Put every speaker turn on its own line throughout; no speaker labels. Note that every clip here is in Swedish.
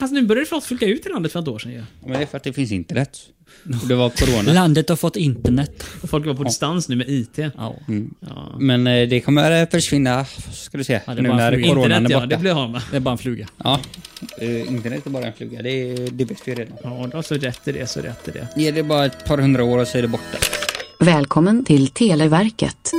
Fast nu började det fast funka ut i landet för ett år sedan ju.
Men det är för att det finns internet. Och det var corona.
Landet har fått internet.
Och folk var på distans nu med IT.
Ja.
Ja.
Men eh, det kommer eh, försvinna, ska du se,
Ja, det
nu
bara
när
flyger.
coronan
Internet
är
ja, det
borta.
blir har man.
Det är bara en fluga.
Ja. Eh, internet är bara en fluga, det, det vet vi redan.
Ja, du har så rätt i det, så rätt i det.
Ge det bara ett par hundra år och så är det borta.
Välkommen till Televerket.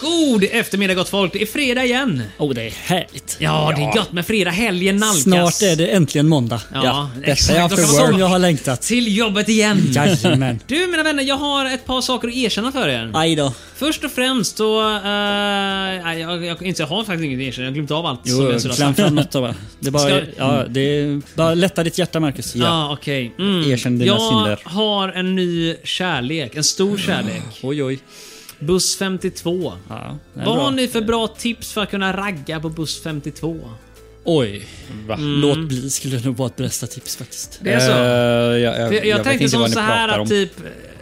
God eftermiddag gott folk, det är fredag igen.
Åh, Oh, det är härligt.
Ja, det är gött med fredag. Helgen nalkas.
Snart är det äntligen måndag.
Ja,
detta är
exakt. Då
after
kan man
work.
Som
komma
jag har längtat.
Till jobbet igen.
Jajamän.
Mm. Du mina vänner, jag har ett par saker att erkänna för er.
Aj då.
Först och främst så... eh, nej, jag, jag, inte, jag har faktiskt inget att erkänna, jag har glömt av allt som
Jo,
jag skulle ha
kläm
sagt.
fram något då bara. Det är bara,
Ska-
ja, det är, bara lätta ditt hjärta, Marcus.
Ja, ah, okej. Mm.
Erkänn dina
jag
synder.
har en ny kärlek. En stor kärlek.
Oj, oj.
Buss 52.
Ja, det är
Vad
bra.
har ni för bra tips för att kunna ragga på buss 52?
Oj.
Mm.
Låt bli skulle nog vara ett bästa tips faktiskt.
Det är så?
Eh, jag, jag,
För jag, jag,
vet
tänkte
inte
som
vad ni
så här
pratar
att
om.
typ...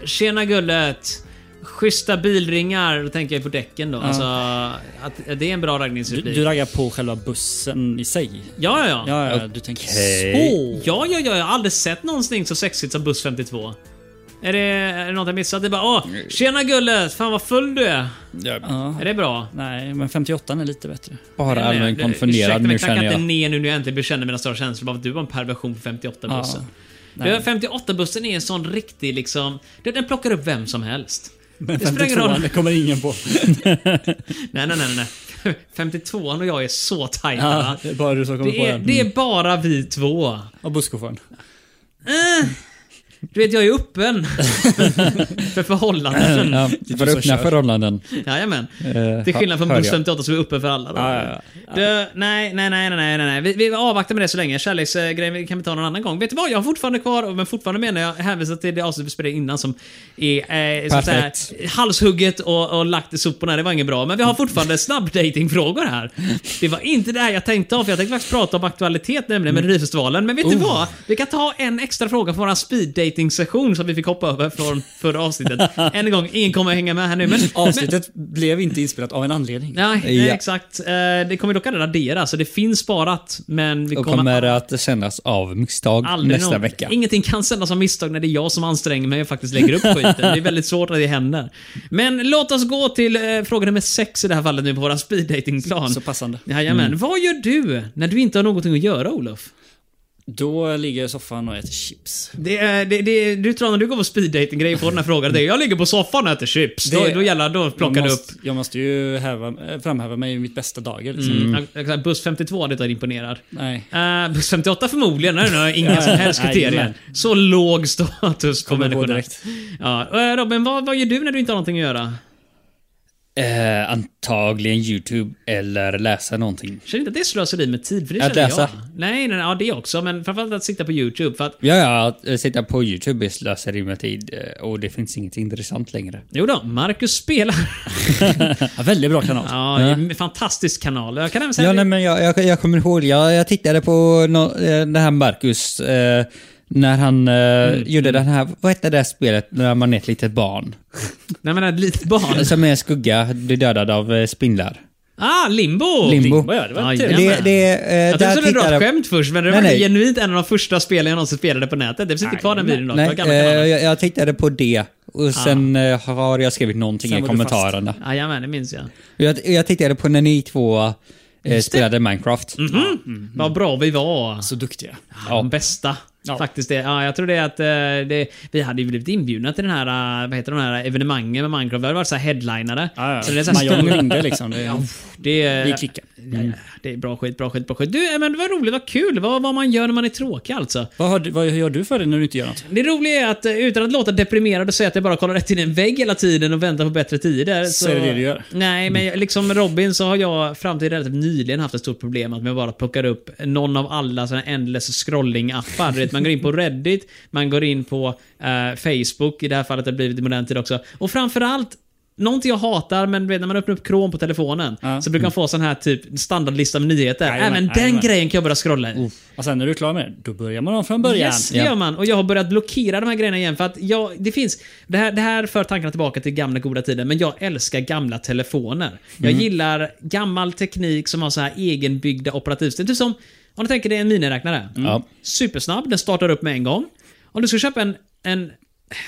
Tjena gullet. Schyssta bilringar, då tänker jag på däcken då. Alltså, att, att det är en bra
Du,
raggningsreplik.
du raggar på själva bussen i sig.
Ja, ja, ja.
Ja, ja, du tänker
eh,
Okej.
så.
Ja, ja, ja. Jag har aldrig sett någonting så sexigt som buss 52. Är det, är det något jag missat? Det är bara åh, tjena gullet, fan vad full du är.
Ja.
Är det bra?
Nej, men 58 är lite bättre.
Bara
Nej,
allmänt
du,
konfunderad
Ursäkta,
nu
men
känner
knacka
jag.
inte ner nu när jag äntligen bekänner mina större känslor bara för att du var en perversion på 58-bussen.
Nej.
58-bussen är en sån riktig liksom... Den den plockar upp vem som helst.
Men
Det spelar ingen roll.
52 det kommer ingen på.
Nej, nej, nej, nej, nej. 52an och jag är så tajta.
Ja,
va?
det är bara du som kommer på
Det är,
den.
det är bara vi två. Eh,
Och busschauffören.
Du vet, jag är öppen för förhållanden.
Ja, för
så
öppna
kör.
förhållanden.
Jajamän.
Eh,
Till skillnad från
hör
buss
jag.
58 som är uppe för alla. Då.
Ja, ja,
Du, nej, nej, nej, nej, nej, nej. Vi, vi avvaktar med det så länge. Kärleksgrejen kan vi ta någon annan gång. Vet du vad? Jag har fortfarande kvar, men fortfarande menar jag hänvisar till det avsnitt vi spelade innan som är eh, så att säga,
Perfekt.
halshugget och, och lagt i soporna. Det var inget bra. Men vi har fortfarande snabbdatingfrågor här. Det var inte det här jag tänkte av, för jag tänkte faktiskt prata om aktualitet, nämligen
Mm.
Melodifestivalen. Men vet
Oh.
du vad? Vi kan ta en extra fråga från vår speeddating-session som vi fick hoppa över från förra avsnittet. Än en gång, ingen kommer hänga med här nu. Men, men,
Avsnittet blev inte inspelat av en anledning.
Nej, nej
Ja.
exakt. Eh, Det kommer dock att raderas, så det finns sparat. Men vi
Och
kommer,
kommer att sändas av misstag
aldrig
nästa
nå-
vecka.
Ingenting kan sändas som misstag när det är jag som anstränger mig och faktiskt lägger upp skiten. Det är väldigt svårt att det händer. Men låt oss gå till eh, fråga nummer sex i det här fallet nu på våra speeddatingplan.
Så passande.
Jajamän. Vad gör du när du inte har någonting att göra, Olof?
Då ligger jag i soffan och äter chips.
Det, är- det, det, du tror när du går på speeddating-grejer på den här frågan, det är jag ligger på soffan och äter chips. Då,
Det-
då gäller då plockar
jag
du upp.
måste, Jag måste ju häva, eh, framhäva mig i mitt bästa dagar. Liksom.
Mm. exakt. Buss 52 hade inte varit imponerad.
Nej.
Uh, 58 förmodligen, nej, nej, inga
Ja,
som helst
ja,
kriterier.
jajamän.
Så låg status på
Kommer på
människorna.
direkt.
Ja. eh, Robin, vad, vad gör du när du inte har någonting att göra?
Eh, antagligen YouTube eller läsa någonting.
Känner inte att det är slöseri med tid? För det
Att
känner jag.
läsa.
Nej, nej, nej, ja, det också. Men framförallt att sitta på YouTube. För att,
Ja, ja, att eh, sitta på YouTube är slöseri med tid eh, och det finns inget intressant längre.
jo då, Marcus spelar.
Ja, väldigt bra kanal.
Ja, en fantastisk kanal. Jag kan även säga
Ja,
det-
nej, men jag, jag, jag kommer ihåg, jag, jag tittade på no, eh, den här Marcus eh, när han eh, gjorde den här, vad hette det här spelet när man är ett litet barn?
Nej, men ett litet barn.
Som är en skugga, blir dödad av eh, spindlar.
Ah, Limbo!
Limbo.
ja, det var
Ja,
inte
ja.
det.
Det, det, eh,
Jag
där
trodde du dra
tittade-
ett skämt först, men det
Nej,
var
nej.
genuint en av de första spelen jag någonsin spelade på nätet. Det finns inte kvar den videon idag.
Nej,
Det var gamla kanaler.
eh, jag, jag tittade på det och sen eh, har jag skrivit någonting
Sen
i
var du fast.
kommentarerna.
Jajamän, det minns jag.
Jag, jag tittade på när ni två eh, spelade Minecraft.
Mm.
Vad bra vi var.
Så duktiga.
Ja. Mm. De bästa.
Ja.
Faktiskt det. Ja, jag tror det är att eh, det, vi hade ju blivit inbjudna till den här, eh, vad heter de här evenemangen med Minecraft. Vi hade varit så här headlinare.
Ja, ja.
Så det är så
Man
här
jag
stor-
ringde liksom. Det, ja,
det, är-
Vi klickar. Mm.
Ja, ja. det är bra skit, bra skit, bra skit. Du, eh, men det var roligt, vad kul. Vad, vad man gör när man är tråkig alltså.
vad, har, du- vad gör du för det när du inte gör något?
Det roliga är att eh, utan att låta deprimerad och säga att jag bara kollar rätt in i en vägg hela tiden och väntar på bättre tider. Så,
är det det du gör.
Nej, men jag, liksom Robin så har jag fram till relativt nyligen haft ett stort problem att man bara plockar upp någon av alla såna endless scrolling-appar. Du vet, man går in på Reddit, man går in på eh, Facebook, i det här fallet har det blivit i modern tid också. Och framförallt Någonting jag hatar, men du vet, när man öppnar upp Chrome på telefonen
Ja.
så brukar man få sån här typ standardlista med nyheter.
Jajamän,
Även den
jajamän.
grejen kan jag börja scrolla i.
Och sen när du är klar med det, då börjar man om från början.
Yes, det gör man. Och jag har börjat blockera de här grejerna igen för att jag, det finns... Det här, det här för tankarna tillbaka till gamla goda tider, men jag älskar gamla telefoner. Jag gillar gammal teknik som har så här egenbyggda operativsystem. Typ som, om du tänker dig en miniräknare.
Ja.
Supersnabb, den startar upp med en gång. Om du skulle köpa en, en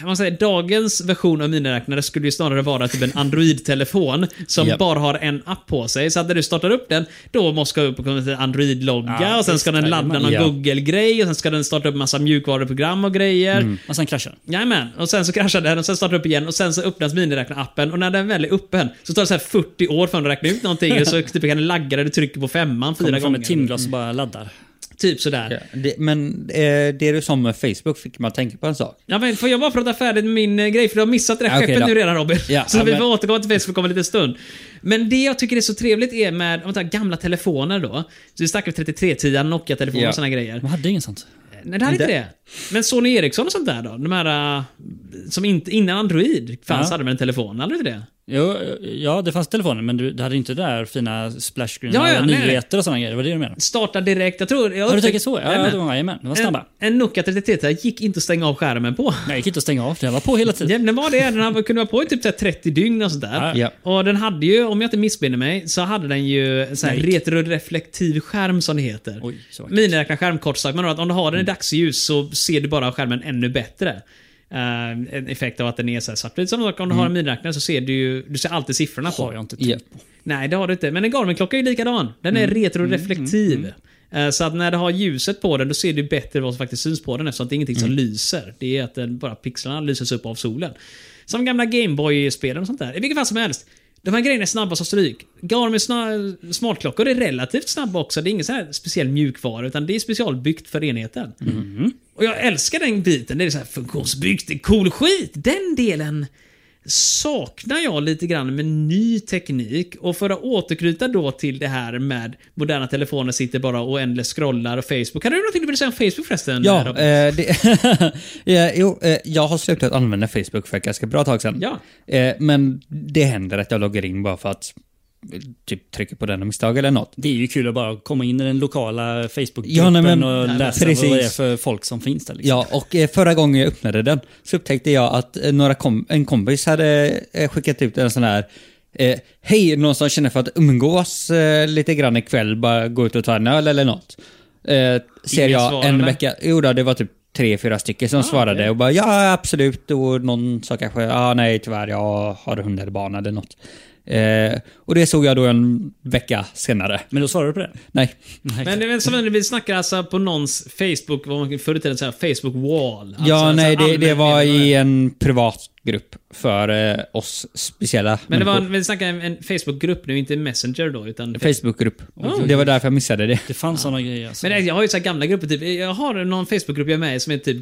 vad man säger, dagens version av miniräknare skulle ju snarare vara typ en Android-telefon som
Japp.
bara har en app på sig. Så att när du startar upp den, då måste du upp och komma till Android-logga
Ja,
och sen
visst,
ska den ladda
jajamän.
någon
Ja.
Google-grej och sen ska den starta upp massa mjukvaruprogram och grejer.
Mm.
Och sen kraschar den.
Jajamän, och sen så kraschar den och sen startar den upp igen och sen så öppnas miniräknarappen och när den väl är öppen så tar det så här 40 år för den att räkna ut någonting och så typ kan den lagga där du trycker på femman fyra
Kommer fram
gånger. Mm.
med timglas och bara laddar.
Typ sådär.
Ja, det, men eh, det du sa med Facebook fick man tänka på en sak.
Ja, men får jag bara prata färdigt med min eh, grej? För du har missat det här
Ja, okej
skeppet
då.
nu redan Robin.
Ja,
så
ja,
vi
men-
får återkomma till Facebook om en liten stund. Men det jag tycker är så trevligt är med om man tar gamla telefoner då. Så vi snackar 3310, Nokia-telefoner
Ja.
och såna grejer.
De hade inget sånt.
Nej, det här är inte det. Men Sony Ericsson och sånt där då? De här äh, som inte, innan Android fanns
Ja.
hade man en telefon, hade du inte det?
Jo, ja, det fanns telefoner, men du, du hade inte det där fina splash screen
Ja, ja,
alla
nej.
nyheter och sådana grejer. Det var det du menade.
Starta direkt, jag tror... Jag
Har du
upptäckte-
tänkt så? Ja,
Jajamän.
det var, jajamän, de var snabba.
En, en Nokia 3310 gick inte att stänga av skärmen på.
Nej, det gick inte att stänga av. Den var på hela tiden.
Ja, den var det. Den hade- kunde vara på i typ så här 30 dygn och sådär.
Ja.
Och den hade ju, om jag inte missminner mig, så hade den ju så här retroreflektiv skärm som det heter.
Oj, så vackert.
Miniräknarskärm kort sagt. Men att om du har den i
Mm.
dagsljus så ser du bara skärmen ännu bättre. Eh, en effekt av att den är så här svartvit. Som sagt, om du har en miniräknare så ser du ju du ser alltid siffrorna på.
Mm. Har jag inte
Ja.
tänkt på.
Nej, det har du inte. Men en Garmin-klocka är ju likadan. Den är retroreflektiv. Eh, Så att när du har ljuset på den, då ser du bättre vad som faktiskt syns på den eftersom det är ingenting som lyser. Det är att den, bara pixlarna lyses upp av solen. Som gamla Gameboy-spelen och sånt där. I vilket fall som helst. De här grejerna är snabba som stryk. Garmin sna- smartklockor är relativt snabba också. Det är ingen så här speciell mjukvara, utan det är specialbyggt för enheten. Och jag älskar den biten. Det är så här funktionsbyggt, det är cool skit. Den delen saknar jag lite grann med ny teknik. Och för att återknyta då till det här med moderna telefoner sitter bara och oändligt scrollar och Facebook. Kan du någonting du vill säga om Facebook förresten?
Ja,
Robin?
eh, det, ja jo, eh, jag har slutat använda Facebook för ett ganska bra tag sedan.
Ja.
Eh, men det händer att jag loggar in bara för att eh, typ trycker på den av misstag eller något.
Det är ju kul att bara komma in i den lokala Facebookgruppen
Ja, nej, men-
och
nej,
läsa
precis.
vad det är för folk som finns där. Liksom.
Ja, och eh, förra gången jag öppnade den så upptäckte jag att eh, några kom en kompis hade eh, skickat ut en sån här eh, Hej, någon som känner för att umgås eh, lite grann ikväll, bara gå ut och ta en öl eller något. Eh, ser
Ingen
jag en
svarade?
vecka, jo då, det var typ tre, fyra stycken
Ah,
som svarade och bara ja, absolut och någon sa kanske ja, nej tyvärr, jag har hund eller barn eller något. Eh, och det såg jag då en vecka senare.
Men då svarar du på det?
Nej,
Nej,
Men det är väl som när vi snackar alltså på någons Facebook, vad man förr i tiden sa, Facebook wall. Alltså,
ja,
alltså
nej, det, det
allmän-
var i en privat grupp för eh, oss speciella
Men det var,
människor.
en- vi snackar en, en Facebookgrupp nu, inte Messenger då. Utan
Facebookgrupp.
Oh.
Det var därför jag missade det.
det fanns sådana grejer. Alltså.
Men det- jag har ju så här gamla grupper, typ. jag har någon Facebookgrupp jag är med i som är typ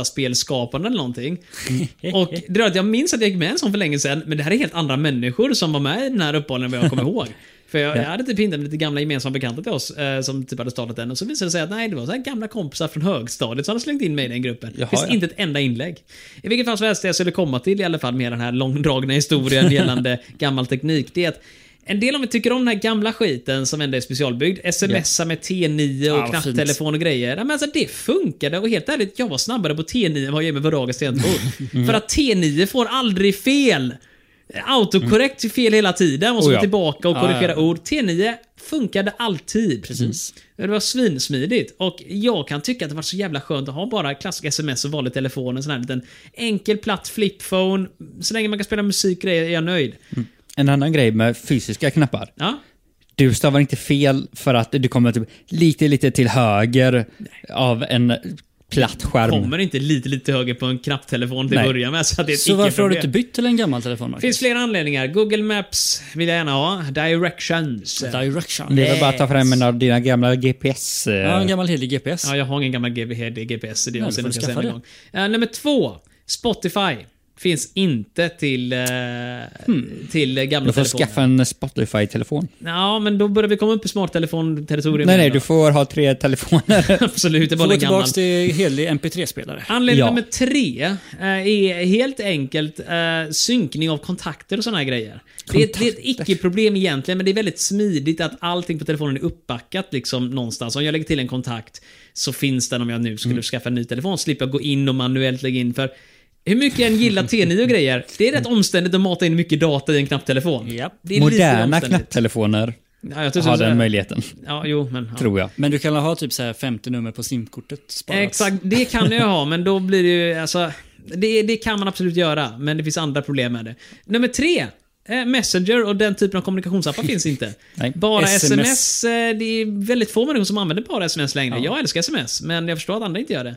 dataspelskapande eller någonting. Och det är att jag minns att jag gick med i en sån för länge sedan, men det här är helt andra människor som var med i den här uppehållen än vad jag kommer ihåg. För jag, jag hade typ hittat lite gamla gemensamma bekanta till oss eh, som typ hade startat den och så visade det sig att nej, det var så här gamla kompisar från högstadiet som hade slängt in mig i den gruppen. Det
Jaha,
finns
ja.
inte ett enda inlägg. I vilket fall som helst, det jag skulle komma till i alla fall med den här långdragna historien gällande gammal teknik, det är att en del om vi tycker om den här gamla skiten som ändå är specialbyggd, smsa med T9 och
Ja, vad fint.
knapptelefon telefon och grejer. Nej, Men alltså, det funkade och helt ärligt, jag var snabbare på T9 än vad jag är med Varagas T2.
Mm.
För att T9 får aldrig fel. Autokorrekt är fel hela tiden. Måste
Oh,
gå
ja.
tillbaka och
Mm. Ja, ja,
korrigera
ja.
ord. T9 funkade alltid. Precis. Det var svinsmidigt. Och jag kan tycka att det var så jävla skönt att ha bara klassisk sms och vanlig telefon. En sån här liten enkel platt flipphone. Så länge man kan spela musik och grejer är jag nöjd.
En annan grej med fysiska knappar.
Ja.
Mm.
Du stavar inte fel för att du kommer typ lite, lite till höger av en platt skärm.
Kommer inte lite, lite högre på en knapptelefon till
Nej.
början med. Så, att det är ett
så varför har du
icke-problem.
inte bytt till en gammal telefon? Marcus?
Det finns flera anledningar. Google Maps vill jag gärna ha. Directions.
Direction.
Det är väl bara att ta fram en av dina gamla GPS. eh,
Ja, en gammal helig GPS.
Ja, jag har ingen gammal GBHD, GPS. Det är
Nej,
jag
du får
ska säga
skaffa
en
det.
gång. Eh, nummer två. Spotify. Finns inte till, eh, till eh, gamla
Du får
telefoner.
skaffa en Spotify-telefon.
Ja, men då börjar vi komma upp i smarttelefonterritorium.
Nej,
igen
nej,
då.
du får ha tre telefoner.
Absolut, det var
Får gå
en gammal.
tillbaks till helig MP3-spelare.
Anledning
Ja.
nummer tre eh, är helt enkelt eh, synkning av kontakter och sådana här grejer. Det är, ett- det är ett icke-problem egentligen, men det är väldigt smidigt att allting på telefonen är uppbackat liksom någonstans. Om jag lägger till en kontakt så finns den om jag nu skulle
Mm.
skaffa en ny telefon. Slipper jag gå in och manuellt lägga in. För hur mycket jag än gillar T9 och grejer, det är rätt
Mm.
omständigt att mata in mycket data i en knapptelefon.
Japp.
Det är lite
Moderna
omständigt.
knapptelefoner
Ja, jag tror
har
så-
den möjligheten,
Ja, jo, men... Ja.
tror jag.
Men du kan ha typ så här 50 nummer på simkortet sparat.
Exakt, det kan jag ha, men då blir det ju... Alltså, det, det kan man absolut göra, men det finns andra problem med det. Nummer tre. eh, Messenger och den typen av kommunikationsappar finns inte.
Nej,
bara
SMS.
SMS. eh, det är väldigt få människor som använder bara SMS längre. Jag älskar SMS, men jag förstår att andra inte gör det.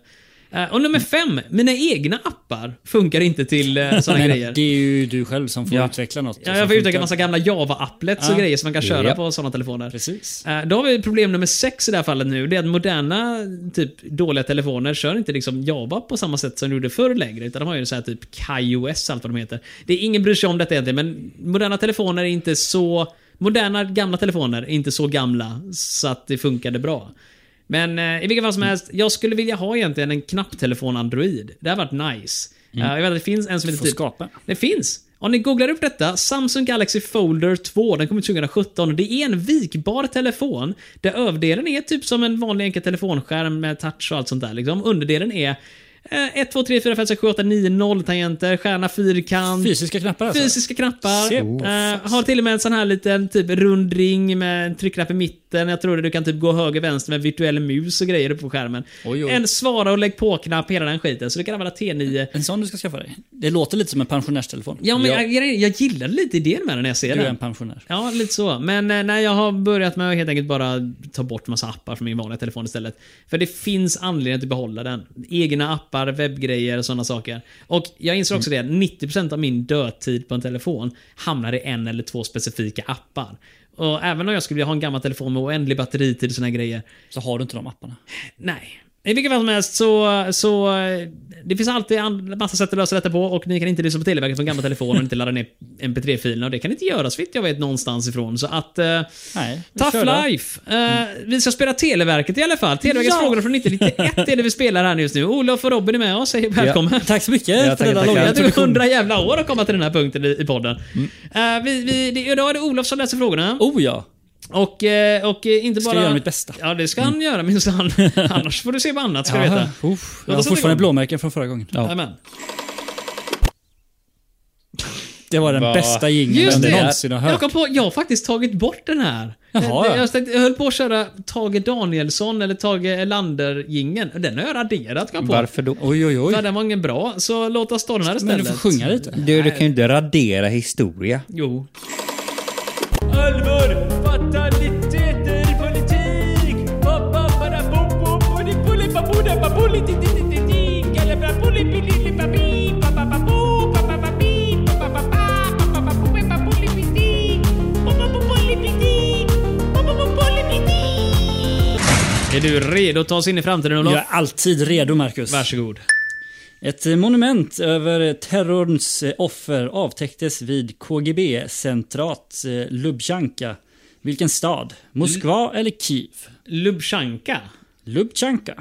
Eh, Och nummer fem, mina egna appar funkar inte till sådana grejer.
Men det är ju du själv som får utveckla något.
Ja,
som
jag får utveckla
funkar.
en massa gamla Java-applets och
Ja.
grejer som man kan köra
Japp.
på sådana telefoner.
Precis.
Eh, Då har vi problem nummer sex i det här fallet nu. Det är att moderna, typ dåliga telefoner kör inte liksom Java på samma sätt som de gjorde förr längre. Utan de har ju så här typ KaiOS, allt vad de heter. Det är ingen bryr sig om detta egentligen, men moderna telefoner är inte så... Moderna gamla telefoner är inte så gamla så att det funkade bra. Men eh, i vilket fall som
Mm.
helst, jag skulle vilja ha egentligen en knapptelefon Android. Det har varit nice. Eh, jag vet att det finns en som heter
Mm. Får skapa.
det finns. Om ni googlar upp detta, Samsung Galaxy Folder 2, den kom ut 2017. Det är en vikbar telefon där överdelen är typ som en vanlig enkel telefonskärm med touch och allt sånt där. Liksom. Underdelen är eh, 1, 2, 3, 4, 5, 6, 7, 8, 9, 0 tangenter, stjärna, fyrkant.
Fysiska knappar alltså?
Fysiska knappar.
Se på
Eh, har till och med en sån här liten typ rund ring med en tryckknapp i mitten. Jag tror att du kan typ gå höger vänster med virtuell mus och grejer uppe på skärmen.
Oj, oj.
En svara och lägg på-knapp, hela den skiten. Så du kan använda T9
En sån du ska skaffa dig? Det låter lite som en pensionärstelefon.
Ja, men
jag,
jag, jag, jag gillar lite idén med den när jag ser
du är en
den.
pensionär.
Ja, lite så. Men eh, nej, jag har börjat med att helt enkelt bara ta bort massa appar från min vanliga telefon istället. För det finns anledning att behålla den. Egna appar, webbgrejer och sådana saker. Och jag inser också det, 90% av min dödtid på en telefon hamnar i en eller två specifika appar. Och även om jag skulle vilja ha en gammal telefon med oändlig batteritid och såna här grejer,
Så har du inte de apparna.
Nej. I vilket fall som helst så, så eh, det finns alltid en massa sätt att lösa detta på och ni kan inte lyssna på Televerket från gamla telefoner och inte ladda ner mp3-filerna och det kan inte göras vitt jag vet någonstans ifrån. Så att... Eh,
Nej.
Tough
kör då. Mm.
life! Eh, vi ska spela Televerket i alla fall. Televerkets frågor från 1991 är det vi spelar här just nu. Olof och Robin är med och säger välkomna.
Tack så mycket för
tackar,
denna
tackar.
långa
Det tog
introduktion. Mm.
hundra jävla år att komma till den här punkten i, i podden. Eh, vi, vi, det, idag är det Olof som läser frågorna.
Oh ja.
Och, eh, och eh, inte
Ska
bara...
göra mitt bästa. Mm.
Ja, det ska han göra minsann. Annars får du se på annat, ska du
Jaha.
veta.
Uff,
Låt
jag har
oss sätta
fortfarande
igång.
blåmärken från förra gången.
Amen.
Det var den
Va.
bästa
Just
jingeln
det!
jag någonsin har
Jag
hört.
kom på, jag har faktiskt tagit bort den här.
Jaha.
Jag, jag, tänkte, jag höll på att köra Tage Danielsson eller Tage erlander gingen Den har jag raderat, kom jag på.
Varför då?
Oj, oj,
För
oj.
den var ingen bra, så låt oss ta den här istället.
Men du får sjunga lite.
Du, du kan ju inte radera historia.
Jo.
Allvar, fataliteter, politik
Är du redo att ta oss in i framtiden Olof?
Jag är alltid redo, Marcus.
Varsågod.
Ett eh, monument över terrorns eh, offer avtäcktes vid KGB-centrat eh, Lubjanka. Vilken stad?
Mm.
Moskva eller Kiev?
Lubchanka.
Lubjanka.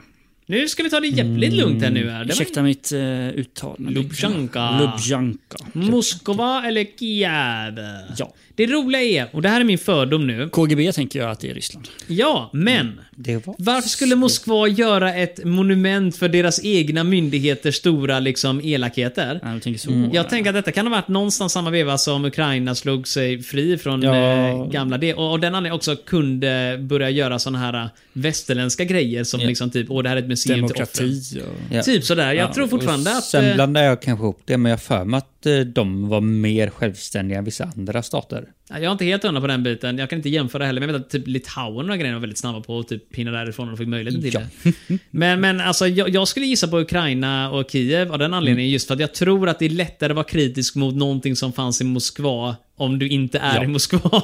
Nu ska vi ta det jävligt lugnt här nu. Här. Det var
Mm, Ursäkta mitt eh, uttal. men det-
Lubjanka.
Lubjanka.
Mm. Moskva eller Kiev?
Ja.
Det roliga är, och det här är min fördom nu.
KGB tänker jag att det är Ryssland.
Ja, men.
Det var...
Varför skulle Moskva göra ett monument för deras egna myndigheters stora liksom, elakheter?
Nej, Mm, jag tänker så.
Jag tänker att detta kan ha varit någonstans samma veva som Ukraina slog sig fri från eh, gamla det. Och av den anledningen också kunde börja göra såna här eh, västerländska grejer som liksom typ, åh det här är ett museum till offren.
Demokrati och...
Ja.
Typ sådär. Jag tror fortfarande att...
Sen
Eh,
blandar jag kanske ihop det, men jag har för mig att eh, de var mer självständiga än vissa andra stater.
eh, jag är inte helt hundra på den biten. Jag kan inte jämföra heller, men jag vet att typ Litauen och grejerna var väldigt snabba på att typ pinna därifrån och fick möjligheten till
Ja.
det. Men, men alltså, jag, jag skulle gissa på Ukraina
Mm.
och Kiev av den anledningen just för att jag tror att det är lättare att vara kritisk mot någonting som fanns i Moskva Om du inte är
Ja.
i Moskva.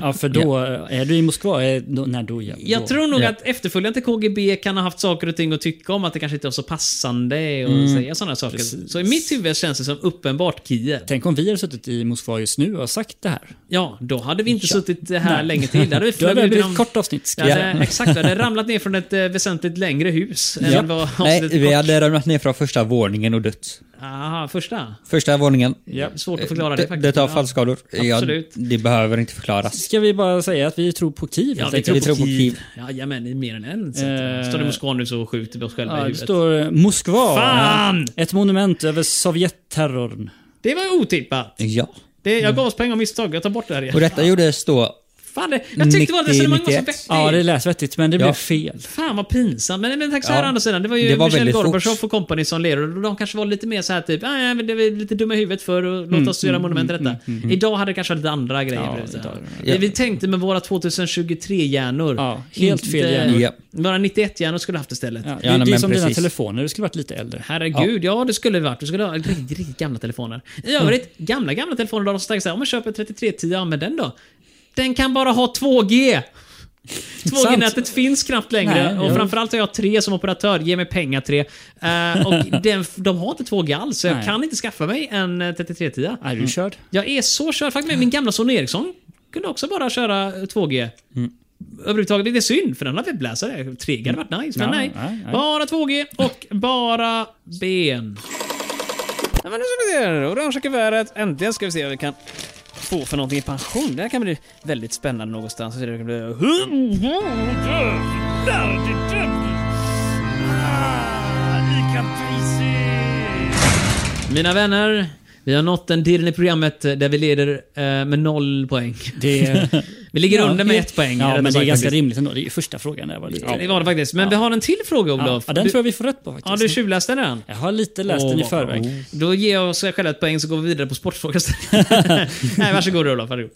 Ja, för då eh, är du i Moskva. eh, Då, när då igen?
Jag
då.
tror nog
Ja.
att efterföljaren till KGB kan ha haft saker och ting att tycka om, att det kanske inte var så passande och
Mm.
säga sådana saker.
Precis.
Så i mitt huvud känns det som uppenbart Kiev.
Tänk om vi hade suttit i Moskva just nu och har sagt det här.
Ja, då hade vi inte
Ja.
suttit här
Nej.
länge till. Då hade vi
Då hade det
flugit
blivit
genom-
ett kort avsnitt.
Ja,
ska jag
det-
säga.
exakt, vi hade ramlat ner från ett eh, väsentligt längre hus.
Ja.
Än vad
Nej,
avsnittet
vi
kort-
hade ramlat ner från första våningen och dött.
Aha, första.
Första våningen. Eh,
Ja.
Svårt att förklara
det,
det faktiskt.
det tar
Ja.
fallskador.
Absolut.
Ja, det behöver inte förklaras.
Ska vi bara säga att vi tror på Kiev?
Ja,
helt
vi
enkelt.
tror
vi
på
tror på
Kiev.
Kiev.
Jajamän, det är mer än en. Så
Eh.
att, står det Moskva nu så skjuter vi oss själva i
Ja, det
huvudet.
står eh, Moskva.
Fan!
Ett monument över Sovjetterrorn.
Det var otippat.
Ja.
Det, jag gav oss pengar av misstag, jag tar bort det här
Och
igen.
detta gjordes då...
Fan, det, jag tyckte vårt resonemang var så
90-91.
vettigt.
Ja, det lät vettigt, men det
Ja.
blev fel.
Fan vad pinsamt. Men, men tack så här
Ja.
å andra sidan. Det var ju
Det var
Michel
väldigt
Gorbachev
fort.
och company som ledare. och De kanske var lite mer så här typ, "Ah, ja, men det är lite dumma i huvudet för att
Mm,
låta oss göra monument till detta. Idag hade det kanske varit lite andra grejer.
Ja,
precis.
idag-
Det vi tänkte med våra 2023-hjärnor.
Ja, helt fel
inte-
hjärnor.
Ja.
Våra 91-hjärnor skulle haft istället.
Ja, det
Ja,
är
nej,
det är
men
som dina
precis.
telefoner, du skulle varit lite äldre.
Herregud, ja. det skulle det varit. Du skulle ha riktigt, riktigt gamla telefoner. I
Mm.
övrigt, gamla, gamla telefoner, då har de sagt såhär, om man köper 3310, ja, använd den då. Den kan bara ha 2G! 2G-nätet finns knappt längre
Nej,
och
ja.
framförallt har jag tre som operatör. Ge mig pengar tre. Eh, och den, de har inte 2G alls, så jag
Nej.
kan inte skaffa mig en eh, 3310.
Är du körd?
Mm. Jag är så körd. Faktiskt med min gamla Sony Ericsson kunde också bara köra 2G. Överhuvudtaget, det är synd för den har webbläsare. 3G hade varit nice, men
Ja,
Mm. nej.
nej, nej.
Bara 2G och bara ben. Ja, men nu ska vi se här. Orangea kuvertet. Äntligen ska vi se vad vi kan få för någonting i pension. Det här kan bli väldigt spännande någonstans. Så det kan bli...
Jävlar, det där Ah, lika prisigt!
Mina vänner, vi har nått den delen i programmet där vi leder eh, med noll poäng.
Det
Vi ligger
Ja,
under med
det-
ett poäng.
Ja,
rättare
men det är
sagt,
ganska
faktiskt.
rimligt ändå. Det är ju första frågan där var lite...
Det var det faktiskt. Men vi har en till fråga,
Ja,
Olof.
ja, den
Du-
tror jag vi får rätt på faktiskt.
Ja, du tjuvläste den.
Jag har lite läst
Åh,
den i
vad-
förväg.
Då ger jag oss själva ett poäng så går vi vidare på sportfrågan istället. Nej, varsågod Olof. Varsågod.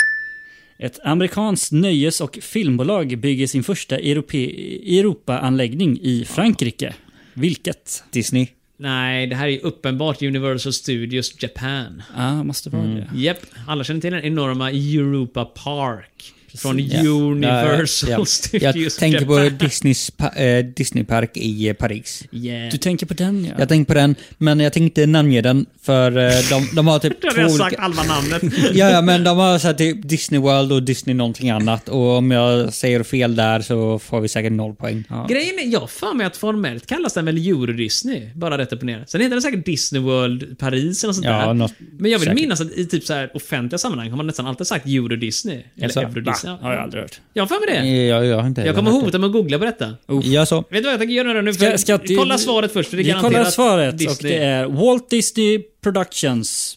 Ett amerikanskt nöjes och filmbolag bygger sin första Europe- Europa-anläggning i Frankrike. Vilket?
Disney.
Nej, det här är ju uppenbart Universal Studios Japan.
Ja, måste vara det.
Japp, alla känner till den enorma Europa Park. Från
Ja.
Universal
Ja, ja.
Studios
Jag tänker
Japan.
på Disneys pa- eh, Disneypark i eh, Paris.
Yeah.
Du tänker på den ja.
Jag tänkte på den, men jag tänkte inte namnge den för eh, de, de har typ
Du har
två
redan sagt
olika...
halva namnet.
Ja, ja, men de har så här typ Disney World och Disney någonting annat och om jag säger fel där så får vi säkert noll poäng.
Grejen är, jag har för mig att formellt kallas den väl Euro-Disney. Bara rätt upp och ner. Sen heter den säkert Disney World Paris eller något sånt
Ja,
där.
något-
Men jag vill
säkert.
minnas att i typ så här offentliga sammanhang har man nästan alltid sagt Euro-Disney. Eller
Jaså?
Euro-Disney.
Har jag aldrig hört.
Jag har för mig det.
Jag, jag, har inte
Jag kommer hota mig att googla på detta. Vet
Ja, så.
du vad jag tänker göra nu?
Ska- ska
För
inte-
kolla svaret först. För det är
Vi kollar
garanterat
svaret och
Disney.
det är Walt Disney Productions.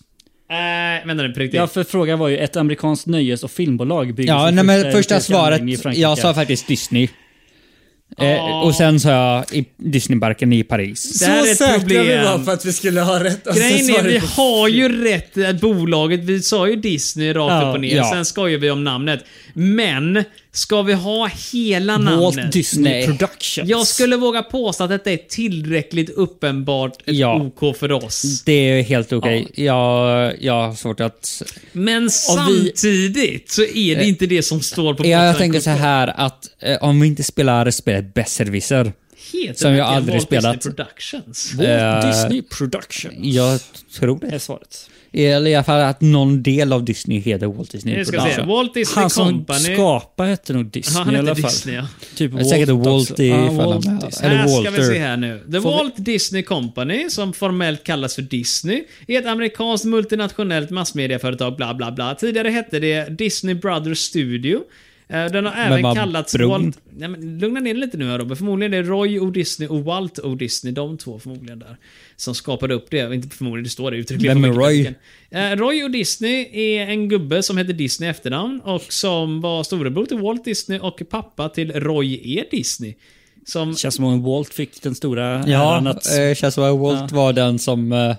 Eh, vänta nu, på riktigt.
Ja, för frågan var ju ett amerikanskt nöjes och filmbolag bygger
Ja,
sin
nej, men
europeiska
första
anläggning i
svaret.
Frankrike.
Jag sa faktiskt Disney. Eh,
Ah.
och sen sa jag i Disneyparken i Paris.
Det här är ett problem.
att vi skulle ha rätt. Alltså, och sen
Grejen
alltså,
är,
svarade
vi
på-
har ju rätt i att bolaget. Vi sa ju Disney rakt
Ja,
upp och ner.
ja.
Sen skojar vi om namnet. Men, ska vi ha hela
Walt
namnet?
Disney
Nej.
Productions.
Jag skulle våga påstå att detta är tillräckligt uppenbart ett
Ja.
OK för oss.
Det är helt okej. Jag, jag har svårt att...
Men
vi-
samtidigt så är det inte det som står på
Eh, Jag, jag
korten.
tänker så här att eh, om vi inte spelar spelet Besserwisser.
Heter
som jag
verkligen
aldrig
Walt Disney
spelat.
Productions.
Walt
Eh,
Disney Productions.
Jag tror det.
Är svaret.
Eller i alla fall att någon del av Disney heter Walt Disney.
Nu ska vi se.
Productions.
Walt Disney
Han som
Company.
skapade hette nog Disney
Ja, han
i alla
hette
fall.
Disney, ja.
Typ
Det är säkert
Walt
Walt
också.
i
Ja,
ifall
Walt
han-
Disney.
Eller
här ska vi
Walter.
se här nu. The Walt Disney Company, som formellt kallas för Disney, är ett amerikanskt multinationellt massmediaföretag, bla bla bla. Tidigare hette det Disney Brothers Studio. Eh, Den har även
var
kallats
bron?
Walt... Nej, men, lugna ner dig lite nu här Robert. Förmodligen är det Roy O. Disney och Walt O. Disney, de två förmodligen där, som skapade upp det. Inte förmodligen, det står det uttryckligen.
Vem
på
är Roy?
Wikipedia. Eh, Roy O. Disney är en gubbe som heter Disney i efternamn och som var storebror till Walt Disney och pappa till Roy E. Disney. Som
Känns som om Walt fick den stora äran
Ja,
att...
eh, känns som att Walt var den som... eh,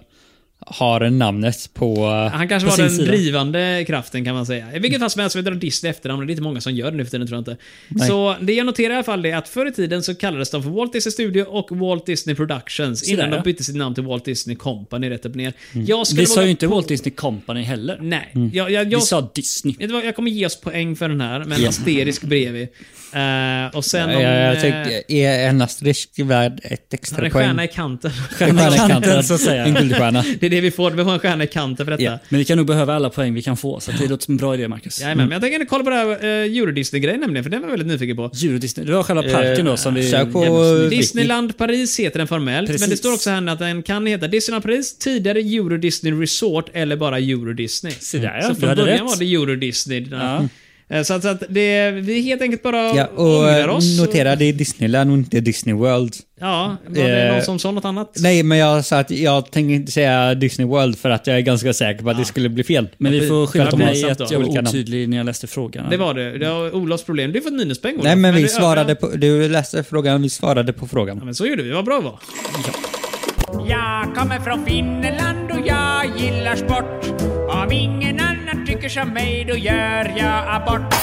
har namnet på...
Han kanske
på
var
sin
den
sida.
drivande kraften kan man säga. I vilket fall som helst, vi drar Disney efternamn. Det är inte många som gör det nu för tiden tror jag inte. Så det jag noterar i alla fall är att förr i tiden så kallades de för Walt Disney Studio och Walt Disney Productions.
Så
innan
där, ja. Mm.
de bytte sitt namn till Walt Disney Company rätt upp ner. Jag skulle
Vi sa
våga-
ju inte Walt Disney Company heller.
Nej. Jag, jag,
Vi
jag,
sa Disney.
Vet du vad, jag kommer ge oss poäng för den här, med en asterisk bredvid. Eh, och sen
jag,
om...
jag
eh,
tycker, är en asterisk värd ett
han är
extra poäng?
stjärna i kanten.
En stjärna i
kanten,
kanten,
så att säga.
En guldstjärna.
Det är det vi får, vi får en stjärna i kanten för detta.
Ja.
Men vi kan nog behöva alla poäng vi kan få, så att det låter som en bra idé Marcus.
Jajamän, men jag tänker ändå kolla på det här uh, Eurodisney-grejen nämligen, för den var jag väldigt nyfiken på.
Djur-Disney. Det var själva parken då som vi...
Sök Eh, på
Disneyland Paris heter den formellt, men det
Precis.
står också här att den kan heta Disneyland Paris, tidigare Euro Disney Resort eller bara Euro Disney.
Se där, ja.
Så
Du
från
hade
början
rätt.
var det Euro Disney. Eh, Så att, så att det, vi helt enkelt bara
Ja, och
ångrar
eh,
oss.
notera, det är Disneyland och inte Disney World.
Ja, var det
Eh,
någon som sa något annat?
Nej, men jag sa att jag tänker inte säga Disney World för att jag är ganska säker på att det skulle bli fel.
Men vi får
För
skylla
att
på
de har
mig
satt
att jag
olika
var
namn.
otydlig när jag läste frågan.
Det var det. Det var Olofs problem. Du får ett minuspoäng Olof.
Nej, men
du
vi
ökar-
svarade på... Du läste frågan, vi svarade på
Ja,
frågan.
men så gjorde vi. Vad bra det var.
Jag kommer från Finland och jag gillar sport. Om ingen annan tycker som mig då gör jag abort.